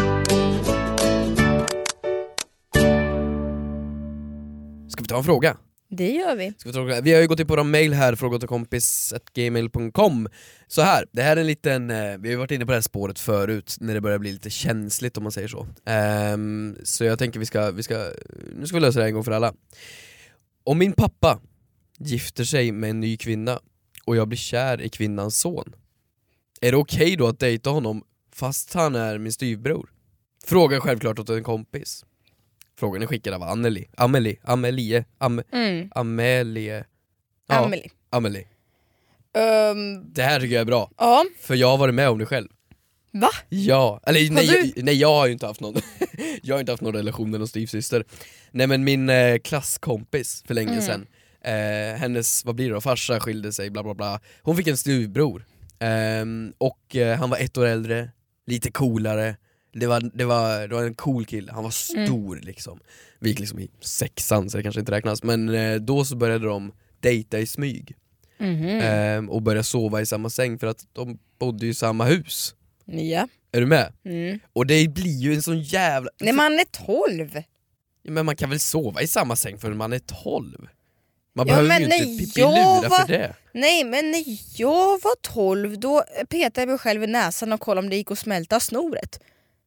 [SPEAKER 3] Ska vi ta en fråga?
[SPEAKER 2] Det gör vi.
[SPEAKER 3] Ska vi, ta en fråga? vi har ju gått in på våra mail här, frågotakompis.gmail.com Så här, det här är en liten, eh, vi har ju varit inne på det här spåret förut när det börjar bli lite känsligt om man säger så. Ehm, så jag tänker vi ska, vi ska, nu ska vi lösa det här en gång för alla. Om min pappa gifter sig med en ny kvinna och jag blir kär i kvinnans son, är det okej då att dejta honom fast han är min styvbror? Frågan självklart åt en kompis. Frågan är skickad av Anneli, Amelie, Amelie, Am
[SPEAKER 2] Mm.
[SPEAKER 3] Amelie. Ja,
[SPEAKER 2] Amelie.
[SPEAKER 3] Amelie.
[SPEAKER 2] Ehm,
[SPEAKER 3] Det här tycker jag är bra,
[SPEAKER 2] ja,
[SPEAKER 3] för jag har varit med om det själv.
[SPEAKER 2] va?
[SPEAKER 3] Ja, eller
[SPEAKER 2] Har
[SPEAKER 3] nej,
[SPEAKER 2] du?
[SPEAKER 3] jag, nej jag har ju inte haft någon <laughs> Jag har inte haft någon relation med någon styvsyster Nej men min eh, klasskompis för länge
[SPEAKER 2] Mm.
[SPEAKER 3] sedan eh, Hennes, vad blir det då, farsa skilde sig bla bla bla Hon fick en styvbror Ehm, Och eh, han var ett år äldre, lite coolare det var, det, var, det var en cool kille, han var
[SPEAKER 2] Mm.
[SPEAKER 3] stor liksom Vi gick liksom i sexan så det kanske inte räknas men eh, då så började de dejta i smyg
[SPEAKER 2] Mhm.
[SPEAKER 3] ehm, och började sova i samma säng för att de bodde ju i samma hus
[SPEAKER 2] Ja.
[SPEAKER 3] Är du med?
[SPEAKER 2] Mm.
[SPEAKER 3] Och det blir ju en sån jävla...
[SPEAKER 2] När man är 12.
[SPEAKER 3] Men man kan väl sova i samma säng förrän man är 12? Man
[SPEAKER 2] Ja,
[SPEAKER 3] behöver
[SPEAKER 2] men
[SPEAKER 3] ju inte
[SPEAKER 2] nej,
[SPEAKER 3] pippilura
[SPEAKER 2] jag var-
[SPEAKER 3] för det.
[SPEAKER 2] Nej men när jag var 12 då petade jag mig själv i näsan och kollade om det gick att smälta snoret.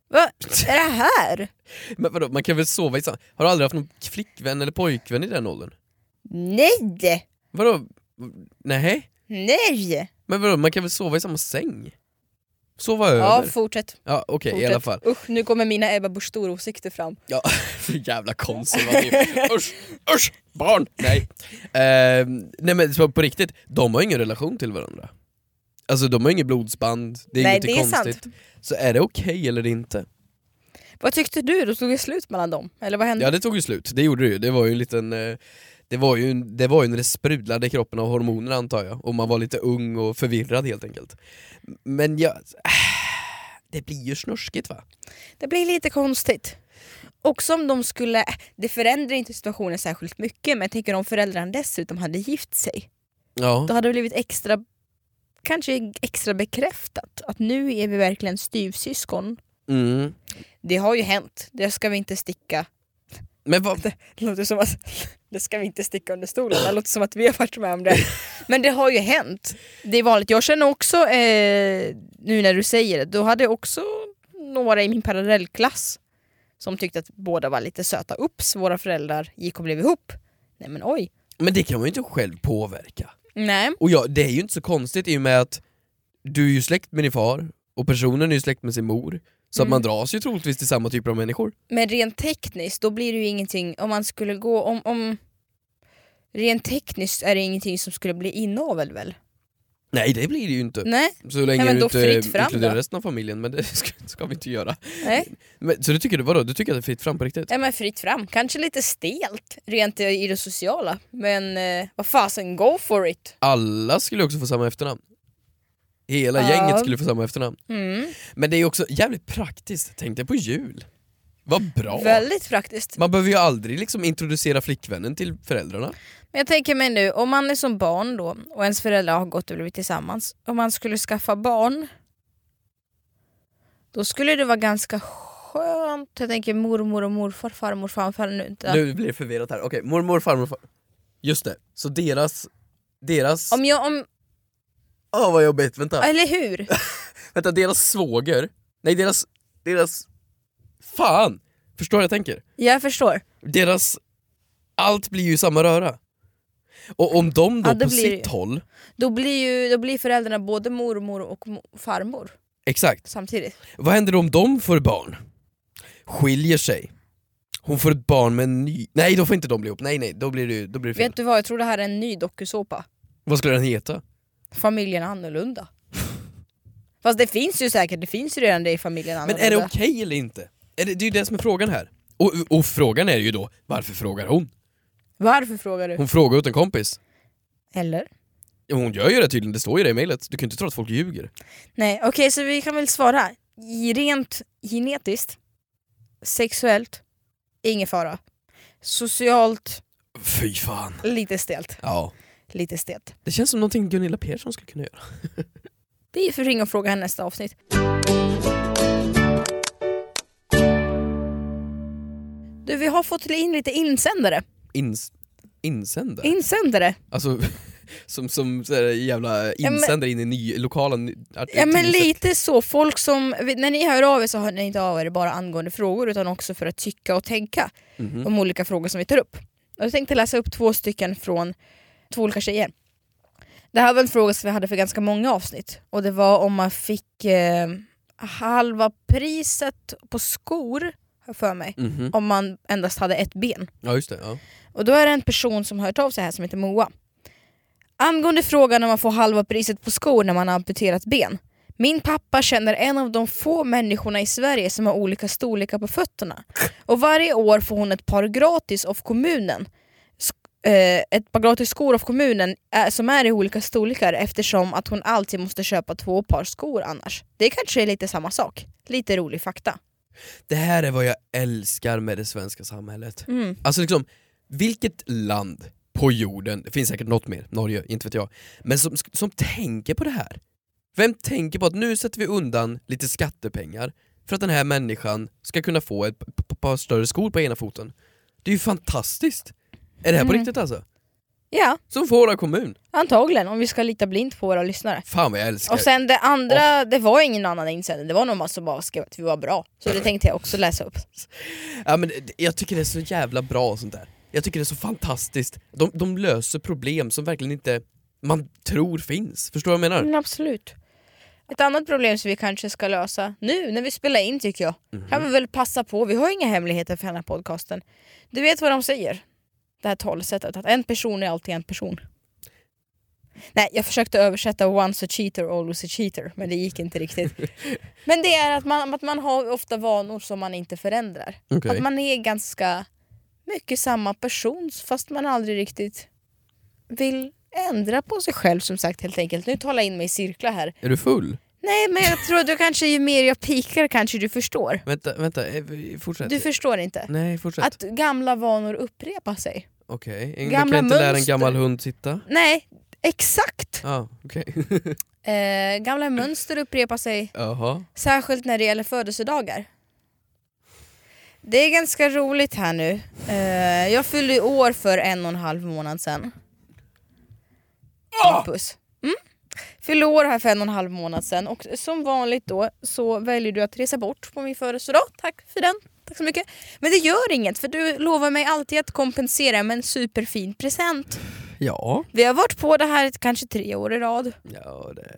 [SPEAKER 2] Vad är det här?
[SPEAKER 3] Men vadå, man kan väl sova i samma... Har du aldrig haft någon flickvän eller pojkvän i den åldern?
[SPEAKER 2] Nej!
[SPEAKER 3] Vadå? Nej?
[SPEAKER 2] Nej!
[SPEAKER 3] Men vadå, man kan väl sova i samma säng? Sova
[SPEAKER 2] Ja,
[SPEAKER 3] över?
[SPEAKER 2] fortsätt.
[SPEAKER 3] Ja, okej i
[SPEAKER 2] fortsätt.
[SPEAKER 3] alla fall.
[SPEAKER 2] Usch, nu kommer mina Ebba Busch Thor-åsikter fram.
[SPEAKER 3] Ja, <laughs> för jävla konservativ. usch, usch, barn! Nej. Ehm, nej men så på riktigt, de har ingen relation till varandra. Alltså de har inget blodsband, det är
[SPEAKER 2] Nej,
[SPEAKER 3] inget
[SPEAKER 2] det är sant. Mm.
[SPEAKER 3] konstigt. Så är det okej eller inte?
[SPEAKER 2] Vad tyckte du? Då tog det slut mellan dem? Eller vad hände?
[SPEAKER 3] Ja det tog ju slut, det gjorde det ju. Det var ju en liten... eh, Det var ju, en- det var ju när det sprudlade i kroppen av hormoner antar jag, och man var lite ung och förvirrad helt enkelt. Men jag... <sighs> Det blir ju snorskigt va?
[SPEAKER 2] Det blir lite konstigt. Också om de skulle... äh, Det förändrar inte situationen särskilt mycket men jag tänker om föräldrarna dessutom hade gift sig.
[SPEAKER 3] Ja.
[SPEAKER 2] Då hade det blivit extra... Kanske extra bekräftat att nu är vi verkligen styvsyskon.
[SPEAKER 3] Mm.
[SPEAKER 2] Det har ju hänt, det ska vi inte sticka.
[SPEAKER 3] Men vad...
[SPEAKER 2] Det låter som att det ska vi inte sticka under stolen, det låter som att vi har varit med om det. Men det har ju hänt. Det är vanligt. Jag känner också, eh, nu när du säger det, då hade jag också några i min parallellklass som tyckte att båda var lite söta. Ups, våra föräldrar gick och blev ihop. Nej men oj.
[SPEAKER 3] Men det kan man ju inte själv påverka.
[SPEAKER 2] Nej.
[SPEAKER 3] Och ja, det är ju inte så konstigt i och med att du är ju släkt med din far och personen är ju släkt med sin mor. Så att
[SPEAKER 2] Mm.
[SPEAKER 3] man dras ju troligtvis till samma typer av människor.
[SPEAKER 2] Men rent tekniskt, då blir det ju ingenting om man skulle gå om... om rent tekniskt är det ingenting som skulle bli inavel väl?
[SPEAKER 3] Nej det blir det ju inte.
[SPEAKER 2] Nej,
[SPEAKER 3] Så länge
[SPEAKER 2] Nej, men
[SPEAKER 3] du
[SPEAKER 2] då
[SPEAKER 3] inte
[SPEAKER 2] fritt fram
[SPEAKER 3] inkluderar
[SPEAKER 2] då.
[SPEAKER 3] resten av familjen, men det <laughs> ska, ska vi inte göra.
[SPEAKER 2] nej.
[SPEAKER 3] Men, så du tycker, vadå, du tycker att det är fritt fram på riktigt?
[SPEAKER 2] Nej men fritt fram. Kanske lite stelt rent i det sociala. Men eh, vad fasen, go for it!
[SPEAKER 3] Alla skulle också få samma efternamn. Hela
[SPEAKER 2] Ja.
[SPEAKER 3] gänget skulle få samma efternamn.
[SPEAKER 2] Mm.
[SPEAKER 3] Men det är ju också jävligt praktiskt, tänk dig på jul. Vad bra!
[SPEAKER 2] Väldigt praktiskt.
[SPEAKER 3] Man behöver ju aldrig liksom introducera flickvännen till föräldrarna.
[SPEAKER 2] Men jag tänker mig nu, om man är som barn då och ens föräldrar har gått och blivit tillsammans. Om man skulle skaffa barn, då skulle det vara ganska skönt. Jag tänker mormor och morfar, farmor, farfar nu inte.
[SPEAKER 3] Nu blir det förvirrat här, okej mormor, farmor, far... Just det, så deras... Deras... Åh
[SPEAKER 2] Om jag, om,
[SPEAKER 3] vad jobbigt, vänta.
[SPEAKER 2] eller hur?
[SPEAKER 3] Vänta, deras svåger... Nej deras... Deras... Fan! Förstår vad jag tänker?
[SPEAKER 2] Jag förstår.
[SPEAKER 3] Deras... Allt blir ju i samma röra. Och om de då
[SPEAKER 2] Ja, det
[SPEAKER 3] på
[SPEAKER 2] blir
[SPEAKER 3] sitt
[SPEAKER 2] det ju.
[SPEAKER 3] håll...
[SPEAKER 2] Då blir ju då blir föräldrarna både mormor och mo- farmor
[SPEAKER 3] Exakt.
[SPEAKER 2] samtidigt.
[SPEAKER 3] Vad händer om de får barn? Skiljer sig. Hon får ett barn med en ny... Nej, då får inte de bli ihop. Nej, nej, då blir det, ju- då blir det fel.
[SPEAKER 2] Vet du vad, jag tror det här är en ny dokusåpa.
[SPEAKER 3] Vad skulle den heta?
[SPEAKER 2] Familjen annorlunda. Fast det finns ju säkert, det finns ju redan det i familjen
[SPEAKER 3] Men
[SPEAKER 2] annorlunda.
[SPEAKER 3] är det okej eller inte? Är det, det är ju det som är frågan här. Och, och frågan är ju då, varför frågar hon?
[SPEAKER 2] Varför frågar du?
[SPEAKER 3] Hon frågar åt en kompis.
[SPEAKER 2] Eller?
[SPEAKER 3] Ja, Hon gör ju det tydligen, det står ju det i mejlet. Du kan ju inte tro att folk ljuger.
[SPEAKER 2] Nej, okej så vi kan väl svara här. I- Rent genetiskt, sexuellt, ingen fara. Socialt,
[SPEAKER 3] Fy fan.
[SPEAKER 2] lite stelt.
[SPEAKER 3] Ja.
[SPEAKER 2] Lite stelt.
[SPEAKER 3] Det känns som någonting Gunilla Persson skulle kunna göra.
[SPEAKER 2] Vi får ringa och fråga henne nästa avsnitt. Du, vi har fått in lite insändare.
[SPEAKER 3] Ins... Insändare?
[SPEAKER 2] Insändare?
[SPEAKER 3] Alltså, <laughs> som, som så här, jävla
[SPEAKER 2] Ja, men-
[SPEAKER 3] insändare in i ny, lokala... Ny,
[SPEAKER 2] Ja men
[SPEAKER 3] tidningssätt.
[SPEAKER 2] lite så, folk som, när ni hör av er så hör ni inte av er bara angående frågor utan också för att tycka och tänka
[SPEAKER 3] Mhm.
[SPEAKER 2] om olika frågor som vi tar upp. Och Jag tänkte läsa upp två stycken från två olika tjejer. Det här var en fråga som vi hade för ganska många avsnitt och det var om man fick eh, halva priset på skor, har jag för mig,
[SPEAKER 3] Mhm.
[SPEAKER 2] om man endast hade ett ben.
[SPEAKER 3] Ja just det, ja.
[SPEAKER 2] Och då är det en person som har hört av sig här som heter Moa. Angående frågan om man får halva priset på skor när man har amputerat ben. Min pappa känner en av de få människorna i Sverige som har olika storlekar på fötterna. Och varje år får hon ett par gratis av kommunen. Sk- eh, ett par gratis skor av kommunen eh, som är i olika storlekar eftersom att hon alltid måste köpa två par skor annars. Det kanske är lite samma sak. Lite rolig fakta.
[SPEAKER 3] Det här är vad jag älskar med det svenska samhället. Alltså liksom, vilket land på jorden, det finns säkert något mer, Norge, inte vet jag, men som, som tänker på det här? Vem tänker på att nu sätter vi undan lite skattepengar för att den här människan ska kunna få ett p- p- par större skor på ena foten? Det är ju fantastiskt! Är det här på
[SPEAKER 2] Mm.
[SPEAKER 3] riktigt alltså?
[SPEAKER 2] Ja,
[SPEAKER 3] Som får vår kommun.
[SPEAKER 2] antagligen om vi ska lita blint på våra lyssnare.
[SPEAKER 3] Fan vad jag älskar
[SPEAKER 2] Och sen det andra, det var ingen annan insändare, det var någon som bara skrev att vi var bra. Så det tänkte jag också läsa upp.
[SPEAKER 3] Ja, men det- jag tycker det är så jävla bra sånt där. Jag tycker det är så fantastiskt. De, de löser problem som verkligen inte man tror finns. Förstår du vad jag menar?
[SPEAKER 2] Men absolut. Ett annat problem som vi kanske ska lösa nu när vi spelar in tycker jag, kan vi väl passa på, vi har inga hemligheter för den här podcasten. Du vet vad de säger? Det här talesättet, att en person är alltid en person. Nej, jag försökte översätta once a cheater, always a cheater, men det gick inte <laughs> riktigt. men det är att man, att man har ofta vanor som man inte förändrar.
[SPEAKER 3] Okej.
[SPEAKER 2] Att man är ganska mycket samma person fast man aldrig riktigt vill ändra på sig själv som sagt helt enkelt. Nu talar jag in mig i cirklar här.
[SPEAKER 3] Är du full?
[SPEAKER 2] Nej men jag tror att du kanske ju mer jag pikar kanske du förstår.
[SPEAKER 3] Vänta, vänta, eh, vi- fortsätt.
[SPEAKER 2] Du förstår inte?
[SPEAKER 3] Nej, fortsätt.
[SPEAKER 2] Att gamla vanor upprepar sig.
[SPEAKER 3] Okej, okay. man
[SPEAKER 2] Gamla
[SPEAKER 3] kan inte lära en
[SPEAKER 2] mönster.
[SPEAKER 3] gammal hund sitta?
[SPEAKER 2] Nej, exakt!
[SPEAKER 3] Ja, ah, okej. <laughs>
[SPEAKER 2] Eh, gamla mönster upprepar sig,
[SPEAKER 3] Jaha.
[SPEAKER 2] särskilt när det gäller födelsedagar. Det är ganska roligt här nu. Eh, jag fyllde ju år för en och en halv månad sedan. Hampus. Mm. Fyllde år här för en och en halv månad sedan och som vanligt då så väljer du att resa bort på min födelsedag. Tack för den. Tack så mycket. Men det gör inget för du lovar mig alltid att kompensera med en superfin present.
[SPEAKER 3] Ja.
[SPEAKER 2] Vi har varit på det här kanske tre år i rad.
[SPEAKER 3] Ja, det...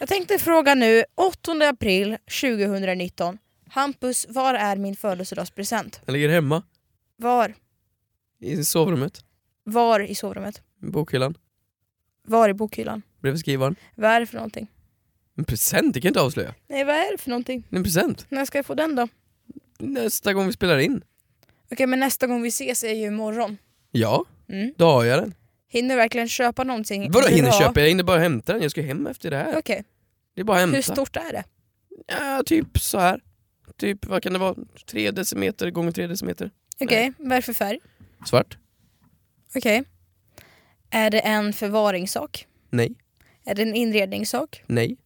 [SPEAKER 2] Jag tänkte fråga nu, 8 april 2019. Hampus, var är min födelsedagspresent?
[SPEAKER 3] Den ligger hemma,
[SPEAKER 2] Var?
[SPEAKER 3] i sovrummet,
[SPEAKER 2] Var i sovrummet?
[SPEAKER 3] i bokhyllan,
[SPEAKER 2] Var i bokhyllan?
[SPEAKER 3] bredvid skrivaren.
[SPEAKER 2] Vad är det för någonting?
[SPEAKER 3] En present, det kan jag inte avslöja.
[SPEAKER 2] Nej, vad är det för någonting?
[SPEAKER 3] En present.
[SPEAKER 2] När ska jag få den då?
[SPEAKER 3] Nästa gång vi spelar in.
[SPEAKER 2] Okej, men nästa gång vi ses är ju imorgon.
[SPEAKER 3] Ja,
[SPEAKER 2] Mm.
[SPEAKER 3] då har jag den.
[SPEAKER 2] Hinner du verkligen köpa någonting?
[SPEAKER 3] Vadå
[SPEAKER 2] Mm, bra?
[SPEAKER 3] hinner köpa? Jag hinner bara hämta den, jag ska hem efter det här.
[SPEAKER 2] Okej,
[SPEAKER 3] Det är bara att hämta.
[SPEAKER 2] hur stort är det?
[SPEAKER 3] Ja, typ så här. Typ, vad kan det vara? Tre decimeter gånger tre decimeter.
[SPEAKER 2] Okej, vad är det för färg?
[SPEAKER 3] Svart?
[SPEAKER 2] Okej. Är det en förvaringssak?
[SPEAKER 3] Nej.
[SPEAKER 2] Är det en inredningssak?
[SPEAKER 3] Nej.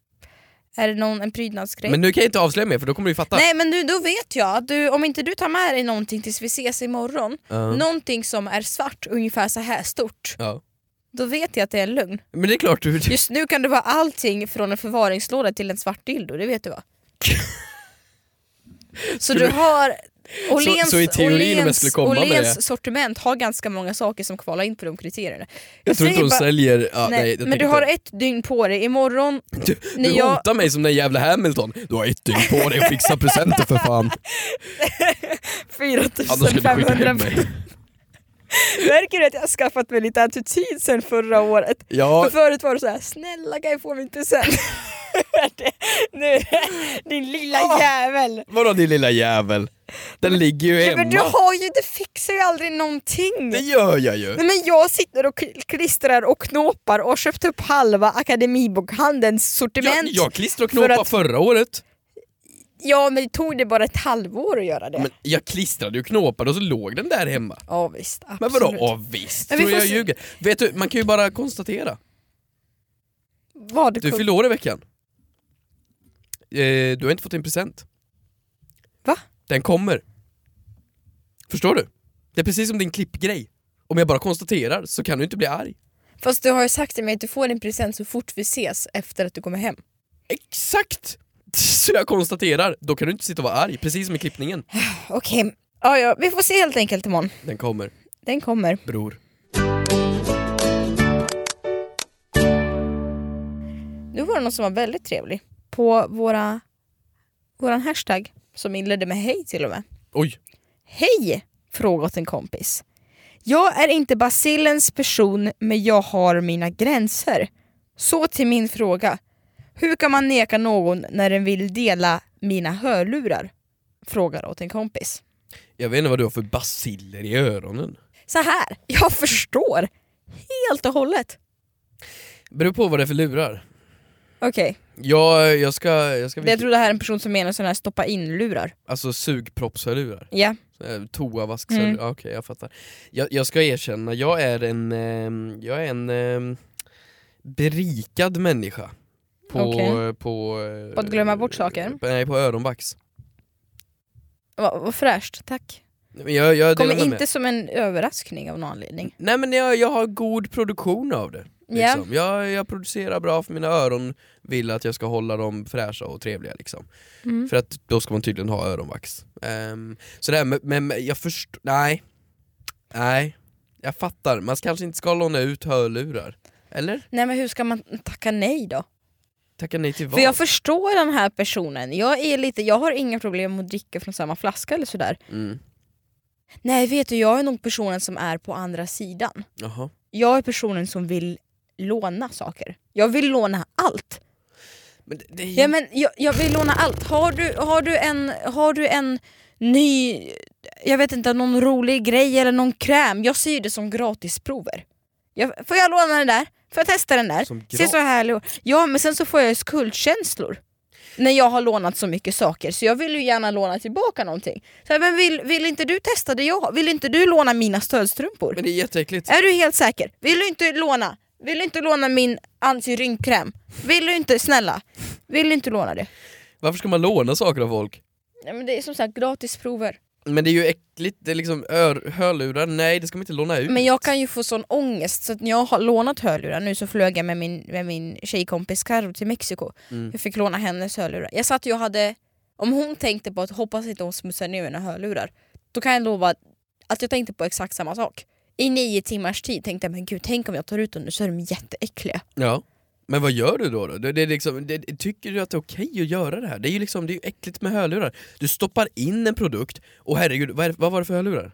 [SPEAKER 2] Är det någon, en prydnadsgrej?
[SPEAKER 3] Men nu kan jag inte avslöja mer för då kommer du fatta.
[SPEAKER 2] Nej men du, då vet jag att du, om inte du tar med dig någonting tills vi ses imorgon,
[SPEAKER 3] Ja.
[SPEAKER 2] någonting som är svart, ungefär så här stort,
[SPEAKER 3] Ja.
[SPEAKER 2] då vet jag att det är en lögn.
[SPEAKER 3] Men det är klart du...
[SPEAKER 2] Just nu kan det vara allting från en förvaringslåda till en svart dildo, det vet du
[SPEAKER 3] <laughs>
[SPEAKER 2] va? så du har... Åhléns,
[SPEAKER 3] så i teorin om jag
[SPEAKER 2] Åhléns-
[SPEAKER 3] skulle komma med
[SPEAKER 2] Åhléns
[SPEAKER 3] det-
[SPEAKER 2] sortiment har ganska många saker som kvalar in på de kriterierna.
[SPEAKER 3] Jag tror inte
[SPEAKER 2] säger
[SPEAKER 3] de
[SPEAKER 2] bara-
[SPEAKER 3] säljer... Ja, nej,
[SPEAKER 2] nej,
[SPEAKER 3] jag
[SPEAKER 2] men du
[SPEAKER 3] tänker
[SPEAKER 2] har
[SPEAKER 3] inte.
[SPEAKER 2] ett dygn på dig, imorgon
[SPEAKER 3] Du,
[SPEAKER 2] när
[SPEAKER 3] du
[SPEAKER 2] jag-
[SPEAKER 3] hotar mig som den jävla Hamilton. Du har ett dygn på dig att fixa presenter för
[SPEAKER 2] <laughs>
[SPEAKER 3] fan. Annars ska du skicka hem
[SPEAKER 2] 4500
[SPEAKER 3] mig.
[SPEAKER 2] Märker du att jag har skaffat mig lite attityd sen förra året?
[SPEAKER 3] Ja,
[SPEAKER 2] <laughs> För förut var det så här, snälla kan jag få min present? <laughs> Det- nu är det din lilla
[SPEAKER 3] Ah.
[SPEAKER 2] jävel!
[SPEAKER 3] vadå din lilla jävel? Den ligger ju
[SPEAKER 2] Ja, men du
[SPEAKER 3] hemma.
[SPEAKER 2] har ju, du fixar ju aldrig någonting!
[SPEAKER 3] Det gör jag ju.
[SPEAKER 2] Nej, men jag sitter och kl- klistrar och knåpar och har köpt upp halva Akademibokhandelns sortiment.
[SPEAKER 3] Jag, jag klistrade och knåpade
[SPEAKER 2] för att-
[SPEAKER 3] förra året.
[SPEAKER 2] Ja men det tog det bara ett halvår att göra det.
[SPEAKER 3] Men jag klistrade och knåpade och så låg den där hemma.
[SPEAKER 2] Ja visst, absolut.
[SPEAKER 3] Men vadå, ja visst
[SPEAKER 2] Men vi
[SPEAKER 3] tror
[SPEAKER 2] får
[SPEAKER 3] jag
[SPEAKER 2] se.
[SPEAKER 3] ljuger. Vet du, man kan ju bara konstatera.
[SPEAKER 2] Vad
[SPEAKER 3] Du
[SPEAKER 2] kul.
[SPEAKER 3] fyller år i veckan. Eh, du har inte fått en present.
[SPEAKER 2] Va?
[SPEAKER 3] Den kommer. Förstår du? Det är precis som din klippgrej. Om jag bara konstaterar så kan du inte bli arg.
[SPEAKER 2] Fast du har ju sagt till mig att du får en present så fort vi ses efter att du kommer hem.
[SPEAKER 3] Exakt! <laughs> Så jag konstaterar, då kan du inte sitta och vara arg, precis som i klippningen.
[SPEAKER 2] Okej, ja, ja, vi får se helt enkelt imorgon.
[SPEAKER 3] Den kommer,
[SPEAKER 2] Den kommer.
[SPEAKER 3] bror.
[SPEAKER 2] Nu var det någon som var väldigt trevlig på våra, våran hashtag som inledde med hej till och med.
[SPEAKER 3] Oj,
[SPEAKER 2] Hej! Fråga åt en kompis. Jag är inte basillens person men jag har mina gränser. Så till min fråga. Hur kan man neka någon när den vill dela mina hörlurar? Frågar åt en kompis.
[SPEAKER 3] jag vet inte vad du har för basiller i öronen.
[SPEAKER 2] så här, jag förstår helt och hållet.
[SPEAKER 3] Beror på vad det är för lurar.
[SPEAKER 2] Okej,
[SPEAKER 3] Jag, jag ska... Jag ska
[SPEAKER 2] jag tror det här är en person som menar sådana här stoppa in-lurar.
[SPEAKER 3] Alltså sugproppshörlurar.
[SPEAKER 2] Ja,
[SPEAKER 3] Eh, Toavaskshörlurar,
[SPEAKER 2] Mm.
[SPEAKER 3] ja, okej jag fattar. Jag, jag ska erkänna, jag är en, ehm, jag är en ehm, berikad människa. På,
[SPEAKER 2] Okej.
[SPEAKER 3] på, eh,
[SPEAKER 2] På att glömma bort saker?
[SPEAKER 3] På, nej, på öronvax.
[SPEAKER 2] vad vad fräscht, tack.
[SPEAKER 3] Men Jag, jag delar
[SPEAKER 2] Kommer
[SPEAKER 3] med
[SPEAKER 2] inte
[SPEAKER 3] mig.
[SPEAKER 2] som en överraskning av någon anledning.
[SPEAKER 3] Nej men jag, jag har god produktion av det.
[SPEAKER 2] Ja.
[SPEAKER 3] Liksom. Jag, jag producerar bra för mina öron vill att jag ska hålla dem fräscha och trevliga liksom.
[SPEAKER 2] Mm.
[SPEAKER 3] För att då ska man tydligen ha öronvax. Ehm, så det här med, men men jag förstår, nej. Nej. Jag fattar, man kanske inte ska låna ut hörlurar. Eller?
[SPEAKER 2] Nej men hur ska man tacka nej då?
[SPEAKER 3] Tacka nej till vad?
[SPEAKER 2] För jag förstår den här personen, jag, är lite, jag har inga problem med att dricka från samma flaska eller sådär.
[SPEAKER 3] mm.
[SPEAKER 2] Nej vet du, jag är nog personen som är på andra sidan.
[SPEAKER 3] Jaha.
[SPEAKER 2] Jag är personen som vill låna saker. Jag vill låna allt.
[SPEAKER 3] Men det, det är ju...
[SPEAKER 2] Ja, men jag, jag vill låna allt. Har du, har, du en, har du en ny, jag vet inte, någon rolig grej eller någon kräm? Jag ser ju det som gratisprover. Jag, får jag låna den där? Får jag testa den där?
[SPEAKER 3] Som
[SPEAKER 2] Ser så härlig ut. Ja, men sen så får jag ju skuldkänslor. När jag har lånat så mycket saker, så jag vill ju gärna låna tillbaka någonting. Så här, men vill, vill inte du testa det jag har? Vill inte du låna mina stödstrumpor?
[SPEAKER 3] men det är jätteäckligt.
[SPEAKER 2] Är du helt säker? Vill du inte låna? Vill du inte låna min antirynkkräm? Vill du inte, snälla? Vill du inte låna det?
[SPEAKER 3] Varför ska man låna saker av folk?
[SPEAKER 2] Nej, men det är som sagt gratisprover.
[SPEAKER 3] Men det är ju äckligt, det är liksom ör, hörlurar, nej det ska man inte låna ut.
[SPEAKER 2] Men jag kan ju få sån ångest så att när jag har lånat hörlurar, nu så flög jag med min, med min tjejkompis Karo till Mexiko.
[SPEAKER 3] Mm.
[SPEAKER 2] Jag fick låna hennes hörlurar. Jag satt ju och hade, om hon tänkte på att hoppas inte hon smutsar ner mina hörlurar, då kan jag lova att jag tänkte på exakt samma sak. I nio timmars tid tänkte jag men gud tänk om jag tar ut dem nu så är de jätteäckliga.
[SPEAKER 3] Ja. Men vad gör du då? då? Det, det, är liksom, det, tycker du att det är okej att göra det här? Det är ju liksom, det är ju äckligt med hörlurar. Du stoppar in en produkt, och herregud, vad, är, vad var det för hörlurar?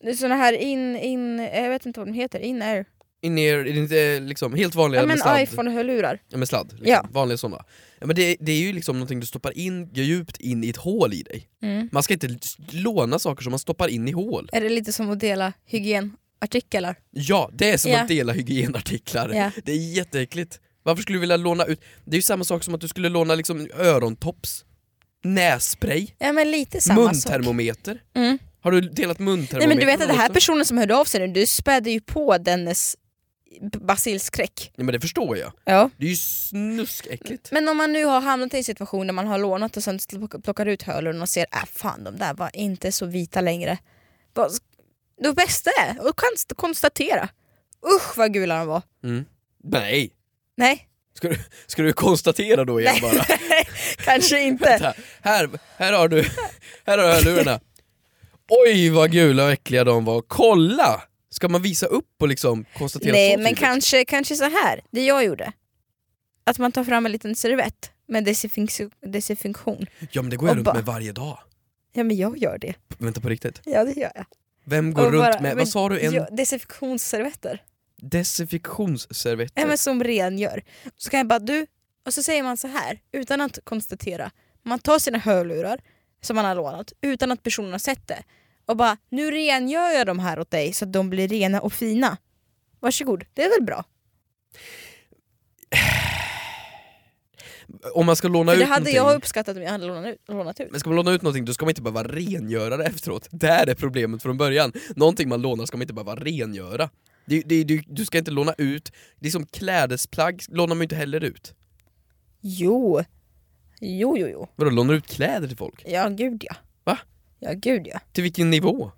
[SPEAKER 2] Det är såna här in, in, jag vet inte vad de heter, in-air.
[SPEAKER 3] In er, är det inte liksom helt vanliga
[SPEAKER 2] Ja men
[SPEAKER 3] med sladd?
[SPEAKER 2] iPhone-hörlurar.
[SPEAKER 3] Ja, med sladd, liksom.
[SPEAKER 2] Ja.
[SPEAKER 3] vanliga sådana. Ja, men det, det är ju liksom någonting du stoppar in djupt in i ett hål i dig.
[SPEAKER 2] Mm.
[SPEAKER 3] Man ska inte s- låna saker som man stoppar in i hål.
[SPEAKER 2] Är det lite som att dela hygienartiklar?
[SPEAKER 3] Ja, det är som
[SPEAKER 2] Ja.
[SPEAKER 3] att dela hygienartiklar.
[SPEAKER 2] Ja.
[SPEAKER 3] Det är jätteäckligt. Varför skulle du vilja låna ut? Det är ju samma sak som att du skulle låna liksom örontops, nässpray,
[SPEAKER 2] Ja men lite samma sak.
[SPEAKER 3] muntermometer.
[SPEAKER 2] Mm.
[SPEAKER 3] Har du delat muntermometer?
[SPEAKER 2] Nej men du vet att
[SPEAKER 3] med
[SPEAKER 2] den här
[SPEAKER 3] någon också?
[SPEAKER 2] personen som hörde av sig nu, du spädde ju på dennes basilskräck.
[SPEAKER 3] Nej men det förstår jag.
[SPEAKER 2] Ja.
[SPEAKER 3] Det är ju snuskäckligt.
[SPEAKER 2] Men om man nu har hamnat i en situation där man har lånat och sen plock- plockar ut hörlurarna och ser äh, fan de där var inte så vita längre. Vad sk- Det bästa är att konst- konstatera. Usch vad gula de var.
[SPEAKER 3] Mm. Nej!
[SPEAKER 2] Nej,
[SPEAKER 3] Ska du, ska du konstatera då igen
[SPEAKER 2] Nej. <laughs>
[SPEAKER 3] bara? <laughs>
[SPEAKER 2] kanske inte.
[SPEAKER 3] Vänta, här, här har du här har du hörlurarna. Oj vad gula och äckliga de var, kolla! Ska man visa upp och liksom konstatera
[SPEAKER 2] Nej
[SPEAKER 3] så
[SPEAKER 2] men
[SPEAKER 3] tydligt?
[SPEAKER 2] kanske, kanske så här. det jag gjorde. Att man tar fram en liten servett med desinfink- desinfektion.
[SPEAKER 3] Ja men det går jag
[SPEAKER 2] och
[SPEAKER 3] runt
[SPEAKER 2] bara-
[SPEAKER 3] med varje dag.
[SPEAKER 2] Ja men jag gör det.
[SPEAKER 3] Vänta på riktigt.
[SPEAKER 2] Ja det gör jag.
[SPEAKER 3] Vem går
[SPEAKER 2] Och
[SPEAKER 3] runt
[SPEAKER 2] bara-
[SPEAKER 3] med,
[SPEAKER 2] men
[SPEAKER 3] vad sa du, en
[SPEAKER 2] Ja, desinfektionsservetter.
[SPEAKER 3] desinfektionsservett?
[SPEAKER 2] Ja, men som rengör. Så kan jag bara du, och så säger man så här utan att konstatera. Man tar sina hörlurar som man har lånat utan att personen har sett det och bara nu rengör jag de här åt dig så att de blir rena och fina. Varsågod, det är väl bra?
[SPEAKER 3] Om man ska låna
[SPEAKER 2] För
[SPEAKER 3] ut
[SPEAKER 2] det hade
[SPEAKER 3] någonting,
[SPEAKER 2] jag uppskattat om jag hade lånat ut. Lånat ut.
[SPEAKER 3] men ska man låna ut någonting då ska man inte behöva rengöra det efteråt. Där är problemet från början. Någonting man lånar ska man inte behöva rengöra. Det, det, du, du ska inte låna ut, det är som klädesplagg lånar man ju inte heller ut.
[SPEAKER 2] Jo. Jo, jo, jo.
[SPEAKER 3] Vadå, lånar du ut kläder till folk?
[SPEAKER 2] Ja, gud ja.
[SPEAKER 3] Va?
[SPEAKER 2] Ja, gud ja.
[SPEAKER 3] Till vilken nivå?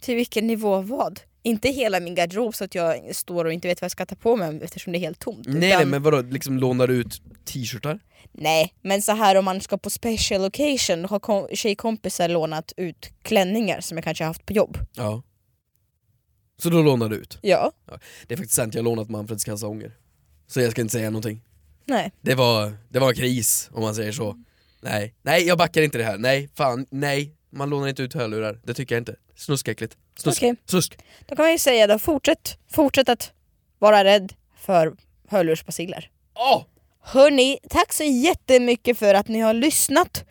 [SPEAKER 2] Till vilken nivå vad? Inte hela min garderob så att jag står och inte vet vad jag ska ta på mig eftersom det är helt tomt.
[SPEAKER 3] Nej, nej
[SPEAKER 2] utan-
[SPEAKER 3] men vadå, liksom lånar du ut t-shirtar?
[SPEAKER 2] Nej, men så här om man ska på special occasion har kom- tjejkompisar lånat ut klänningar som jag kanske har haft på jobb.
[SPEAKER 3] Ja. Så då lånar du ut?
[SPEAKER 2] Ja.
[SPEAKER 3] Det är faktiskt sant, jag har lånat Manfreds kalsonger. Så jag ska inte säga någonting.
[SPEAKER 2] Nej.
[SPEAKER 3] Det var, det var en kris, om man säger så. Nej, nej jag backar inte det här. Nej, fan, nej. Man lånar inte ut hörlurar, det tycker jag inte. Snuskäckligt. Snusk.
[SPEAKER 2] Okej.
[SPEAKER 3] Snusk.
[SPEAKER 2] Då kan man ju säga då, fortsätt, fortsätt att vara rädd för hörlursbaciller.
[SPEAKER 3] Åh!
[SPEAKER 2] Hörni, tack så jättemycket för att ni har lyssnat.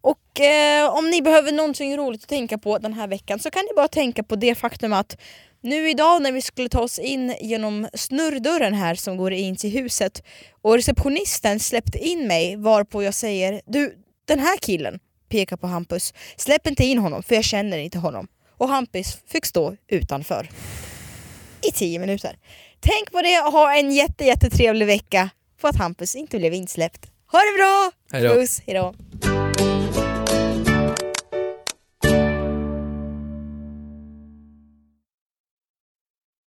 [SPEAKER 2] Och eh, om ni behöver någonting roligt att tänka på den här veckan så kan ni bara tänka på det faktum att nu idag när vi skulle ta oss in genom snurrdörren här som går in till huset och receptionisten släppte in mig varpå jag säger du den här killen pekar på Hampus släpp inte in honom för jag känner inte honom och Hampus fick stå utanför i tio minuter. Tänk på det och ha en jätte, jättetrevlig vecka på att Hampus inte blev insläppt. Ha det bra!
[SPEAKER 3] Hej då.
[SPEAKER 2] Puss, hejdå!